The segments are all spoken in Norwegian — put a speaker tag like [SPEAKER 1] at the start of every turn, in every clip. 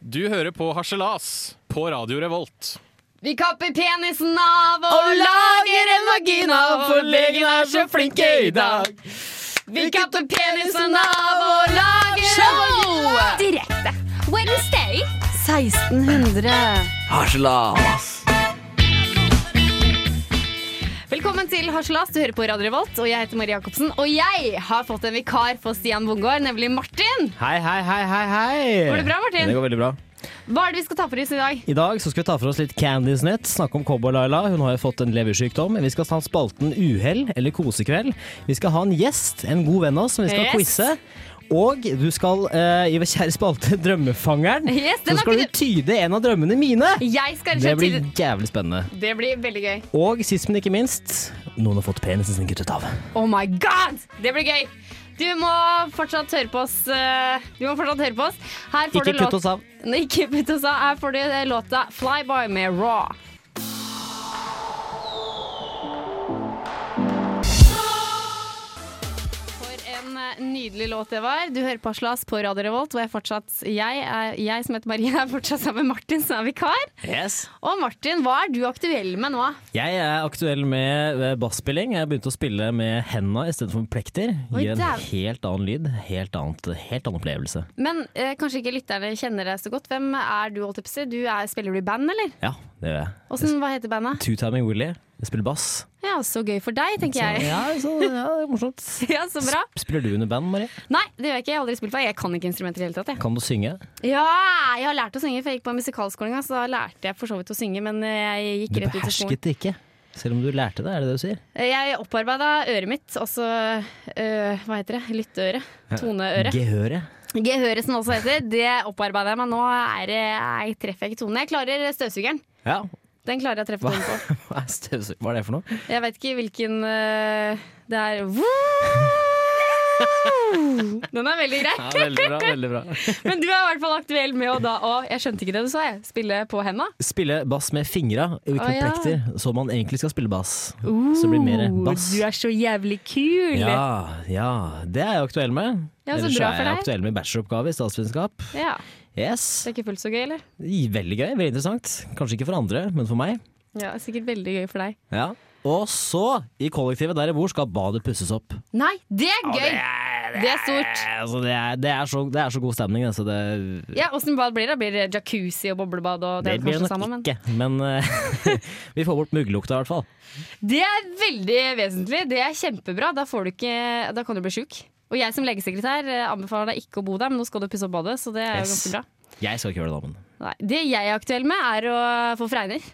[SPEAKER 1] Du hører på Harselas på Radio Revolt.
[SPEAKER 2] Vi kapper penisen av og, lager en vagina, for legen er så flink i dag. Vi kapper penisen av og lager en vagina.
[SPEAKER 3] Direkte. Wednesday.
[SPEAKER 2] 1600.
[SPEAKER 4] Harselas.
[SPEAKER 2] Velkommen til Harselas. Du hører på Radio Revolt, og jeg heter Marie Jacobsen. Og jeg har fått en vikar for Stian Bongård, nemlig Martin.
[SPEAKER 4] Hei, hei, hei, hei, hei.
[SPEAKER 2] Går det bra, Martin?
[SPEAKER 5] Det går veldig bra.
[SPEAKER 2] Hva er det vi skal ta for oss i dag?
[SPEAKER 5] I dag så skal vi ta for oss litt Candies Nett, snakke om Cowboy-Laila. Hun har jo fått en leversykdom. Vi skal ta spalten Uhell eller kosekveld. Vi skal ha en gjest, en god venn av oss, som vi skal
[SPEAKER 2] Yes.
[SPEAKER 5] quize. Og du skal eh, i vår kjære spalte Drømmefangeren.
[SPEAKER 2] Yes, den
[SPEAKER 5] så
[SPEAKER 2] har
[SPEAKER 5] skal du
[SPEAKER 2] ikke
[SPEAKER 5] tyde en av drømmene mine!
[SPEAKER 2] Jeg skal
[SPEAKER 5] Det
[SPEAKER 2] til
[SPEAKER 5] blir jævlig spennende.
[SPEAKER 2] Det blir veldig gøy.
[SPEAKER 5] Og sist, men ikke minst, noen har fått penisen sin kuttet av.
[SPEAKER 2] Oh my god! Det blir gøy. Du må fortsatt høre på oss. eh, Du må fortsatt høre på oss. Her får
[SPEAKER 5] Ikke
[SPEAKER 2] du
[SPEAKER 5] kutt
[SPEAKER 2] låt-
[SPEAKER 5] oss av.
[SPEAKER 2] Nei, ikke kutt oss av. Her får du eh, låta 'Flyboy' med Raw. For en eh, Nydelig låt det var. Du hører på Aslas på Radio Revolt, hvor jeg fortsatt jeg, er, jeg som heter Marie, er fortsatt sammen med Martin, som er vikar.
[SPEAKER 5] Yes.
[SPEAKER 2] Og Martin, hva er du aktuell med nå?
[SPEAKER 5] Jeg er aktuell med eh, basspilling. Jeg begynte å spille med henda i stedet for med plekter.
[SPEAKER 2] Oi,
[SPEAKER 5] Gir en
[SPEAKER 2] dæv-
[SPEAKER 5] helt annen lyd, helt, annet, helt annen opplevelse.
[SPEAKER 2] Men eh, kanskje ikke lytterne kjenner deg så godt. Hvem er du? holdt jeg på å si? Du er, Spiller du i band, eller?
[SPEAKER 5] Ja, det gjør jeg.
[SPEAKER 2] Åssen- hva heter bandet?
[SPEAKER 5] Two Timing Willy. Jeg spiller bass.
[SPEAKER 2] Ja, Så gøy for deg, tenker
[SPEAKER 5] Så,
[SPEAKER 2] jeg.
[SPEAKER 5] ja, så, ja, det er morsomt.
[SPEAKER 2] Ja, så bra.
[SPEAKER 5] Sp- Spiller du under band, Marie?
[SPEAKER 2] Nei, det gjør jeg ikke. Jeg har aldri spilt på. Jeg kan ikke instrumenter i det hele tatt. Jeg.
[SPEAKER 5] Kan du synge?
[SPEAKER 2] Ja, jeg har lært å synge, for jeg gikk på musikalskolen en gang, så da lærte jeg for så vidt å synge, men eh, jeg
[SPEAKER 5] Du
[SPEAKER 2] gikk rett ut i skolen. Eh,
[SPEAKER 5] behersket det ikke. Selv om du lærte det, er det det du sier?
[SPEAKER 2] Jeg opparbeida øret mitt, altså øh, hva heter det, lytteøret, toneøret.
[SPEAKER 5] Gehøret.
[SPEAKER 2] Gehøret som det også heter, det opparbeida jeg meg. Nå er, det- jeg treffer jeg ikke tonen. Jeg klarer støvsugeren.
[SPEAKER 5] Ja.
[SPEAKER 2] Den klarer jeg å treffe tonen på.
[SPEAKER 5] Hva er støvsug- hva er det for noe?
[SPEAKER 2] Jeg vet ikke hvilken øh, Det er Woo! Den er veldig grei.
[SPEAKER 5] veldig bra, veldig bra.
[SPEAKER 2] Men du er i hvert fall aktuell med å da å Jeg skjønte ikke det du sa, jeg. Spille på henda.
[SPEAKER 5] Spille bass med fingra, og ikke
[SPEAKER 2] Å,
[SPEAKER 5] med
[SPEAKER 2] ja.
[SPEAKER 5] plekter, som man egentlig skal spille bass. så det blir mer bass.
[SPEAKER 2] Du er så jævlig kul!
[SPEAKER 5] Ja, ja, det er jeg aktuell med.
[SPEAKER 2] Ja, så
[SPEAKER 5] Ellers
[SPEAKER 2] bra
[SPEAKER 5] er
[SPEAKER 2] for
[SPEAKER 5] jeg
[SPEAKER 2] deg.
[SPEAKER 5] aktuell med bacheloroppgave i statsvitenskap.
[SPEAKER 2] Ja,
[SPEAKER 5] Yes.
[SPEAKER 2] Det er ikke fullt så gøy, eller?
[SPEAKER 5] Veldig gøy, veldig interessant. Kanskje ikke for andre, men for meg.
[SPEAKER 2] Ja, Sikkert veldig gøy for deg.
[SPEAKER 5] Ja. Og så, i kollektivet der jeg bor, skal badet pusses opp.
[SPEAKER 2] Nei, det er gøy! Det er stort.
[SPEAKER 5] Altså, det, er, det, er så, det er så god stemning, altså. Det,
[SPEAKER 2] Ja, Åssen bad blir det? Blir det jacuzzi og boblebad? Og det,
[SPEAKER 5] det
[SPEAKER 2] er
[SPEAKER 5] blir
[SPEAKER 2] kanskje
[SPEAKER 5] det nok
[SPEAKER 2] sammen, men-
[SPEAKER 5] ikke, men eh, vi får bort mugglukta i hvert fall.
[SPEAKER 2] Det er veldig vesentlig. Det er kjempebra. Da, får du ikke, da kan du bli sjuk. Og jeg som legesekretær eh, anbefaler deg ikke å bo der, men nå skal du pusse opp badet, så det er jo
[SPEAKER 5] Yes.
[SPEAKER 2] ganske bra.
[SPEAKER 5] Jeg skal ikke gjøre det, da, men.
[SPEAKER 2] Nei, det jeg er aktuell med, er å få fregner.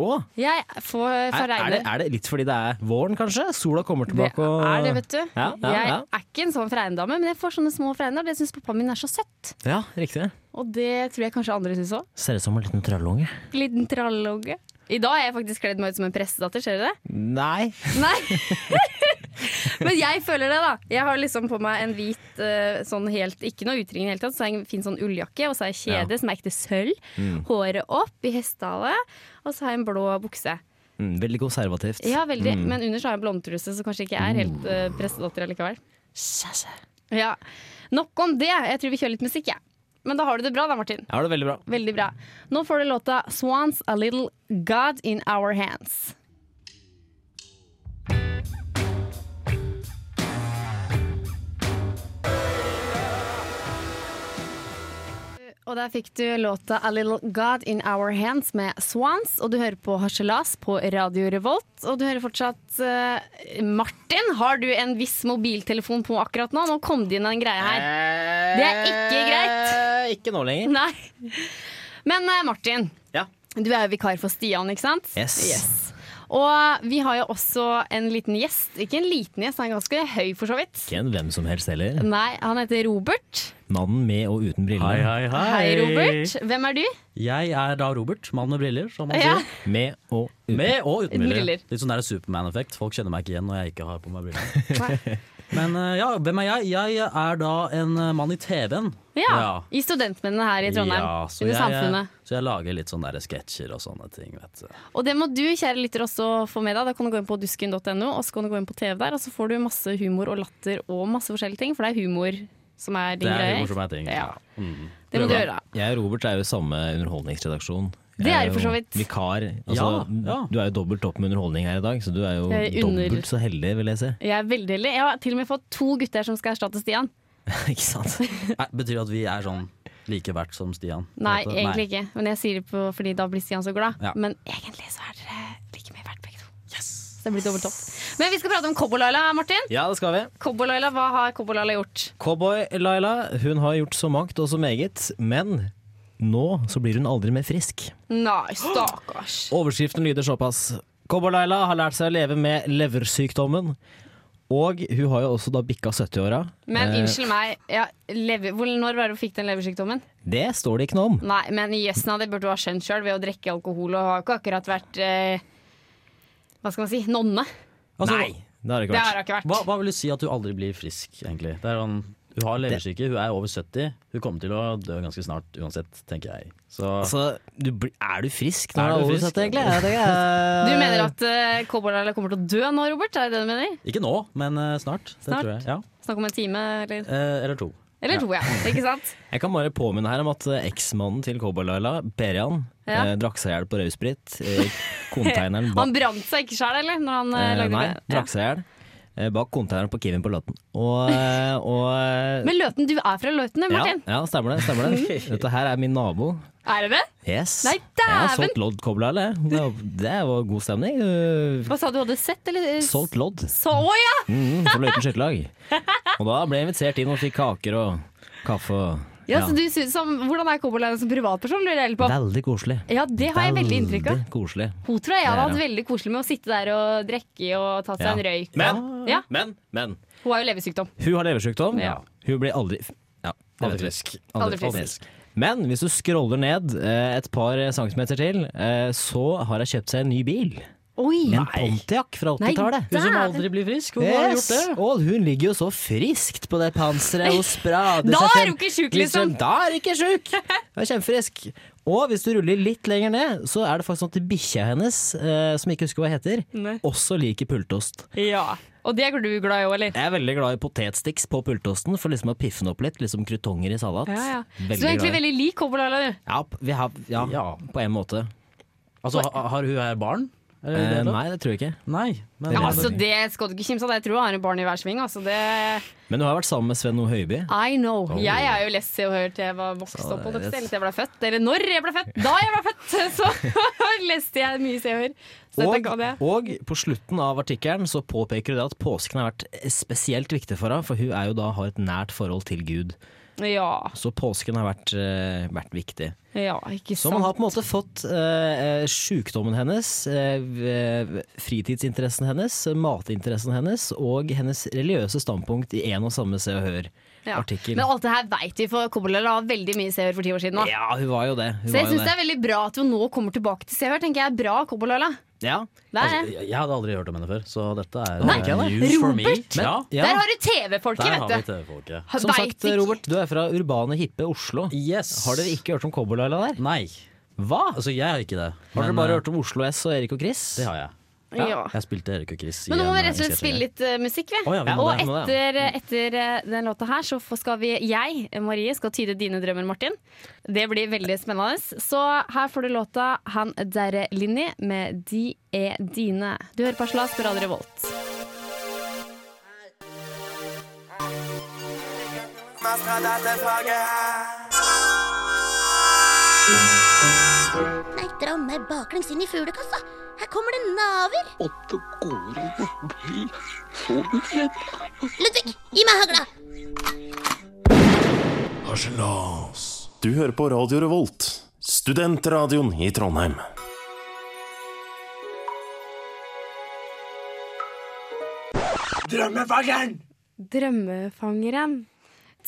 [SPEAKER 5] Å,
[SPEAKER 2] Jeg får,
[SPEAKER 5] er,
[SPEAKER 2] får
[SPEAKER 5] er, det,
[SPEAKER 2] regner.
[SPEAKER 5] er det litt fordi det er våren, kanskje? Sola kommer tilbake og
[SPEAKER 2] er det, vet du.
[SPEAKER 5] Ja, ja,
[SPEAKER 2] jeg
[SPEAKER 5] ja.
[SPEAKER 2] er ikke en sånn fregndame, men jeg får sånne små fregner, og det syns pappaen min er så søtt.
[SPEAKER 5] Ja, riktig.
[SPEAKER 2] Og det tror jeg kanskje andre syns òg.
[SPEAKER 5] Ser ut som en liten trallunge.
[SPEAKER 2] Liten trallogge. I dag har jeg faktisk kledd meg ut som en prestedatter, ser du det?
[SPEAKER 5] Nei.
[SPEAKER 2] Nei. Men jeg føler det, da. Jeg har liksom på meg en hvit eh, sånn helt Ikke noe utringning i det hele tatt, så har jeg en fin sånn ulljakke, og så har jeg kjede som er ekte sølv. Håret opp i hestehale, og så har jeg en blå bukse.
[SPEAKER 5] Mm, veldig konservativt.
[SPEAKER 2] Ja, veldig. Men under så har jeg en blondtruse, så kanskje ikke jeg er helt eh, prestedatter allikevel. Ja. Nok om det. Jeg tror vi kjører litt musikk, jeg. Men da har du det bra da, Martin.
[SPEAKER 5] Jeg har det veldig bra.
[SPEAKER 2] Veldig bra. Nå får du låta 'Swans A Little God In Our Hands'. Og der fikk du låta 'A Little God In Our Hands' med Swans. Og du hører på Harselas på Radio Revolt. Og du hører fortsatt eh, Martin, har du en viss mobiltelefon på akkurat nå? Nå kom det inn en greie her. Det er ikke greit.
[SPEAKER 5] Eh, Ikke nå lenger.
[SPEAKER 2] Nei. Men eh, Martin,
[SPEAKER 5] Ja.
[SPEAKER 2] du er jo vikar for Stian, ikke sant?
[SPEAKER 5] Yes.
[SPEAKER 2] Og vi har jo også en liten gjest. Ikke en liten gjest, han er ganske høy for så vidt.
[SPEAKER 5] Ikke en hvem som helst heller.
[SPEAKER 2] Nei, han heter Robert.
[SPEAKER 5] Mannen med og uten briller.
[SPEAKER 4] Hei, hei, hei.
[SPEAKER 2] Hei, Robert. Hvem er du?
[SPEAKER 4] Jeg er da Robert, mann med briller, som man
[SPEAKER 2] Ja.
[SPEAKER 4] sier.
[SPEAKER 5] Med og uten.
[SPEAKER 4] Med og uten
[SPEAKER 2] Uten
[SPEAKER 4] briller.
[SPEAKER 2] briller.
[SPEAKER 4] Litt sånn der Superman-effekt. Folk kjenner meg ikke igjen når jeg ikke har på meg briller. Men eh, ja, hvem er jeg? Jeg er da en eh, mann i TV-en.
[SPEAKER 2] Ja, I Studentmennene her i Trondheim.
[SPEAKER 4] Ja, så
[SPEAKER 2] under
[SPEAKER 4] jeg, eh,
[SPEAKER 2] Samfunnet.
[SPEAKER 4] Så jeg lager litt sånne der sketsjer og sånne ting. Vet du.
[SPEAKER 2] Og det må du, kjære lytter, også få med deg. Da kan du gå inn på dusken.no, og så kan du gå inn på TV der, og så får du masse humor og latter og masse forskjellige ting, for det er humor som er din
[SPEAKER 4] Det er
[SPEAKER 2] greie.
[SPEAKER 4] morsomme ting.
[SPEAKER 2] Ja.
[SPEAKER 4] Mm.
[SPEAKER 2] Det må du gjøre.
[SPEAKER 5] Jeg og Robert er jo i samme underholdningsredaksjon.
[SPEAKER 2] Det
[SPEAKER 5] Jeg
[SPEAKER 2] er du for så vidt.
[SPEAKER 5] Vikar. Altså,
[SPEAKER 4] Ja, ja.
[SPEAKER 5] Du er jo dobbelt opp med underholdning her i dag, så du er jo
[SPEAKER 2] Jeg er under-
[SPEAKER 5] dobbelt så heldig, vil jeg si.
[SPEAKER 2] Jeg er veldig heldig. Jeg har til og med fått to gutter som skal erstatte Stian.
[SPEAKER 5] Ikke sant?
[SPEAKER 4] Nei, betyr det at vi er sånn like verdt som Stian?
[SPEAKER 2] Nei, egentlig ikke. Men jeg sier det på, fordi da blir Stian så glad.
[SPEAKER 4] Ja.
[SPEAKER 2] Men egentlig så er dere like mye verdt begge to. Så det blir dobbelt opp. Men vi skal prate om Cowboy-Laila, Martin.
[SPEAKER 5] Ja, det skal vi.
[SPEAKER 2] Cowboy-Laila, Hva har Cowboy-Laila gjort?
[SPEAKER 5] Cowboy Laila hun har gjort så mangt og så meget, men nå så blir hun aldri mer frisk.
[SPEAKER 2] Nei, stakkars.
[SPEAKER 5] Overskriften lyder såpass. Cowboy Laila har lært seg å leve med leversykdommen. Og hun har jo også da bikka 70-åra.
[SPEAKER 2] Men
[SPEAKER 5] Eh,
[SPEAKER 2] unnskyld meg, ja, lever, hvor, når var det du fikk den leversykdommen?
[SPEAKER 5] Det står det ikke noe om.
[SPEAKER 2] Nei, men jøssen av det burde du ha skjønt sjøl ved å drikke alkohol og har ikke akkurat vært eh, Hva skal man si? Nonne.
[SPEAKER 4] Altså,
[SPEAKER 5] Nei, det har
[SPEAKER 2] Det
[SPEAKER 5] det ikke
[SPEAKER 2] har
[SPEAKER 5] vært.
[SPEAKER 2] hun ikke vært.
[SPEAKER 4] Hva, hva vil du si at du aldri blir frisk, egentlig? Det er sånn, hun har leversyke, hun er over 70. Hun kommer til å dø ganske snart uansett, tenker jeg. Så
[SPEAKER 5] Altså, du, blir- er du frisk når
[SPEAKER 4] Er
[SPEAKER 5] du er
[SPEAKER 4] du
[SPEAKER 5] over
[SPEAKER 4] frisk?
[SPEAKER 5] 70, egentlig? Jeg tenker, eh,
[SPEAKER 2] Du mener at eh, Cowboy-Laila kommer til å dø nå, Robert? Er det det du mener?
[SPEAKER 4] ikke nå, men eh, snart. Det
[SPEAKER 2] Snart?
[SPEAKER 4] tror jeg. Ja.
[SPEAKER 2] Snakk om en time, eller,
[SPEAKER 4] Eh, eller to.
[SPEAKER 2] eller to, ja. Ikke sant?
[SPEAKER 5] Jeg kan bare påminne her om at eh, eksmannen til Cowboy Laila, Berjan,
[SPEAKER 2] Ja.
[SPEAKER 5] eh, drakk seg i hjel på rødsprit. Eh, konteineren bak
[SPEAKER 2] Han brant seg ikke sjæl, eller? Når han eh,
[SPEAKER 5] Eh,
[SPEAKER 2] lagde
[SPEAKER 5] nei,
[SPEAKER 2] det?
[SPEAKER 5] drakk seg i hjel. eh, Bak konteineren på Kiwien på Løten. Og, eh, og eh,
[SPEAKER 2] Men Løten, du er fra Løten,
[SPEAKER 5] ja,
[SPEAKER 2] Martin?
[SPEAKER 5] ja, stemmer det. stemmer det Dette her er min nabo.
[SPEAKER 2] Er det det?
[SPEAKER 5] Yes.
[SPEAKER 2] Nei,
[SPEAKER 5] Jeg har
[SPEAKER 2] dæven!
[SPEAKER 5] solgt lodd, kobla alle. Det var- Det var god stemning. Eh,
[SPEAKER 2] Hva sa du, hadde sett, eller?
[SPEAKER 5] Solgt lodd
[SPEAKER 2] Så, å ja!
[SPEAKER 5] mm, for Løiten skytterlag. Og da ble jeg invitert inn og fikk kaker og kaffe. Og,
[SPEAKER 2] ja, så du synes, som, hvordan er Cowboy-Laila som privatperson, lurer jeg litt på?
[SPEAKER 5] Veldig koselig.
[SPEAKER 2] Ja, det har jeg veldig inntrykk av.
[SPEAKER 5] Veldig koselig.
[SPEAKER 2] Hun tror jeg
[SPEAKER 5] Det er
[SPEAKER 2] hadde hatt
[SPEAKER 5] hun.
[SPEAKER 2] veldig koselig med å sitte der og drikke og ta seg
[SPEAKER 5] Ja.
[SPEAKER 2] en røyk.
[SPEAKER 5] Men-
[SPEAKER 2] ja,
[SPEAKER 5] Men, men.
[SPEAKER 2] Hun har jo leversykdom.
[SPEAKER 5] Hun har leversykdom.
[SPEAKER 2] Ja.
[SPEAKER 5] Hun blir aldri ja, det
[SPEAKER 4] Aldri
[SPEAKER 5] vet vi.
[SPEAKER 4] frisk.
[SPEAKER 2] Aldri frisk.
[SPEAKER 5] Men hvis du scroller ned eh, et par centimeter til, eh, så har jeg kjøpt seg en ny bil.
[SPEAKER 2] Oi!
[SPEAKER 5] En Pontiac fra
[SPEAKER 2] Nei,
[SPEAKER 5] 80-tallet.
[SPEAKER 4] Hun som
[SPEAKER 2] Dæven.
[SPEAKER 4] aldri blir frisk, hun har gjort det.
[SPEAKER 5] Og hun ligger jo så friskt på det panseret og sprader
[SPEAKER 2] Da er
[SPEAKER 5] seg frem.
[SPEAKER 2] hun ikke sjuk, liksom.
[SPEAKER 5] sånn, Da er hun ikke sjuk! Hun er kjempefrisk. Og hvis du ruller litt lenger ned, så er det faktisk sånn at bikkja hennes, eh, som jeg ikke husker hva heter,
[SPEAKER 2] Nei.
[SPEAKER 5] også liker pultost.
[SPEAKER 2] Ja. Og det er du glad i òg, eller?
[SPEAKER 5] Jeg er veldig glad i potetsticks på pultosten, for liksom å piffe den opp litt. Liksom krutonger i salat.
[SPEAKER 2] Ja, ja. Så
[SPEAKER 5] Veldig
[SPEAKER 2] du er egentlig
[SPEAKER 5] glad i-
[SPEAKER 2] veldig lik Cowboy-Laila, du.
[SPEAKER 5] ja, vi har, ja,
[SPEAKER 4] Ja.
[SPEAKER 5] på en måte.
[SPEAKER 4] Altså, ha, har hun her barn? Er det
[SPEAKER 5] Eh,
[SPEAKER 4] det da?
[SPEAKER 5] nei, det tror jeg ikke.
[SPEAKER 4] Nei. Men,
[SPEAKER 2] Ja, altså, det skal du ikke kimse av. Jeg tror hun har en barn i hver sving. Altså, det
[SPEAKER 5] Men du har vært sammen med Sven O. Høiby.
[SPEAKER 2] I know. Jeg er jo lest Se og Hør til jeg var vokst opp, holdt jeg på å si, eller til jeg ble født. Eller når jeg ble født! Da jeg ble født, så leste jeg mye Se og Hør. Så dette
[SPEAKER 5] Og,
[SPEAKER 2] kan jeg.
[SPEAKER 5] og på slutten av artikkelen så påpeker du det at påsken har vært spesielt viktig for henne, for hun er jo da har et nært forhold til Gud.
[SPEAKER 2] Ja.
[SPEAKER 5] Så påsken har vært, eh, vært viktig.
[SPEAKER 2] Ja, ikke
[SPEAKER 5] Så man
[SPEAKER 2] sant.
[SPEAKER 5] har på en måte fått eh, eh, sjukdommen hennes, eh, v- fritidsinteressen hennes, matinteressen hennes og hennes religiøse standpunkt i én og samme Se og
[SPEAKER 2] Ja.
[SPEAKER 5] Hør-artikkel.
[SPEAKER 2] Men alt det her veit vi, for Cowboy-Laila har veldig mye Se og Hør for ti år siden nå.
[SPEAKER 5] Ja, hun var jo det. Hun
[SPEAKER 2] Ah. Så jeg
[SPEAKER 5] var jo
[SPEAKER 2] syns det er veldig bra at hun nå kommer tilbake til Se og Hør. tenker jeg er bra, Cowboy-Laila.
[SPEAKER 5] Ja.
[SPEAKER 2] Der,
[SPEAKER 4] altså, jeg jeg hadde aldri hørt om henne før, så dette er
[SPEAKER 5] Nei,
[SPEAKER 4] eh,
[SPEAKER 5] ikke jeg,
[SPEAKER 4] news for me.
[SPEAKER 2] Robert!
[SPEAKER 4] Men, ja,
[SPEAKER 5] ja.
[SPEAKER 2] der har du TV-folket,
[SPEAKER 4] der har vi
[SPEAKER 2] vet du.
[SPEAKER 4] TV-folket.
[SPEAKER 5] Som
[SPEAKER 2] Vet
[SPEAKER 5] sagt,
[SPEAKER 2] ikke.
[SPEAKER 5] Robert, du er fra urbane, hippe Oslo.
[SPEAKER 4] Yes.
[SPEAKER 5] Har dere ikke hørt om Cowboy-Laila der?
[SPEAKER 4] Nei.
[SPEAKER 5] Hva?
[SPEAKER 4] Altså, jeg har ikke
[SPEAKER 5] Har
[SPEAKER 4] det.
[SPEAKER 5] dere
[SPEAKER 4] men,
[SPEAKER 5] bare
[SPEAKER 4] eh,
[SPEAKER 5] hørt om Oslo S og Erik og Chris?
[SPEAKER 4] Det har jeg.
[SPEAKER 2] Ja.
[SPEAKER 4] Jeg spilte Erik og Chris
[SPEAKER 2] Men nå må
[SPEAKER 4] i
[SPEAKER 2] vi
[SPEAKER 4] en,
[SPEAKER 2] rett og
[SPEAKER 4] eh,
[SPEAKER 2] slett spille litt eh, musikk, vi.
[SPEAKER 4] Å ja, vi må
[SPEAKER 2] og
[SPEAKER 5] det, vi må
[SPEAKER 2] etter, etter eh, den låta her, så får- skal vi jeg, eh, Marie, skal tyde dine drømmer, Martin. Det blir veldig spennende. Så her får du låta 'Han derre Linni' med 'De er dine'. Du hører på Slas på Radio Revolt.
[SPEAKER 6] Man skal da tilbake her.
[SPEAKER 3] Nei, dra meg baklengs inn i fuglekassa. Her kommer det naver.
[SPEAKER 7] åtte gårder forbi solredd.
[SPEAKER 3] Ludvig, gi meg hagla.
[SPEAKER 8] Du hører på Radio Revolt, studentradioen i Trondheim.
[SPEAKER 2] Drømmefangeren.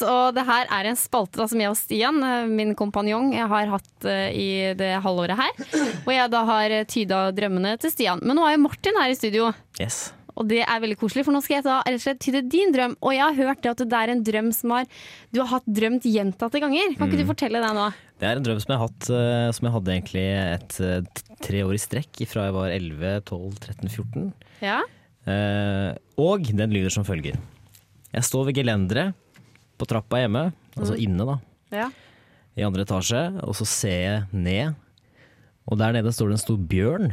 [SPEAKER 2] Og det her er en spalte da, som jeg og Stian, eh, min kompanjong, jeg har hatt eh, i det halvåret her. Og jeg da har tyda drømmene til Stian. Men nå er jo Martin her i studio,
[SPEAKER 5] Yes.
[SPEAKER 2] og det er veldig koselig. For nå skal jeg da rett og slett tyde din drøm. Og jeg har hørt det at det er en drøm som har, du har hatt drømt gjentatte ganger. Kan ikke
[SPEAKER 5] Mm.
[SPEAKER 2] du fortelle det nå?
[SPEAKER 5] Det er en drøm som jeg, har hatt, eh, som jeg hadde egentlig et eh, t- tre år i strekk fra jeg var 11, 12, 13, 14.
[SPEAKER 2] Ja?
[SPEAKER 5] Eh, og den lyder som følger. Jeg står ved gelenderet på trappa hjemme, altså inne da.
[SPEAKER 2] Ja.
[SPEAKER 5] i andre etasje, og så ser jeg ned. Og der nede står det en stor bjørn.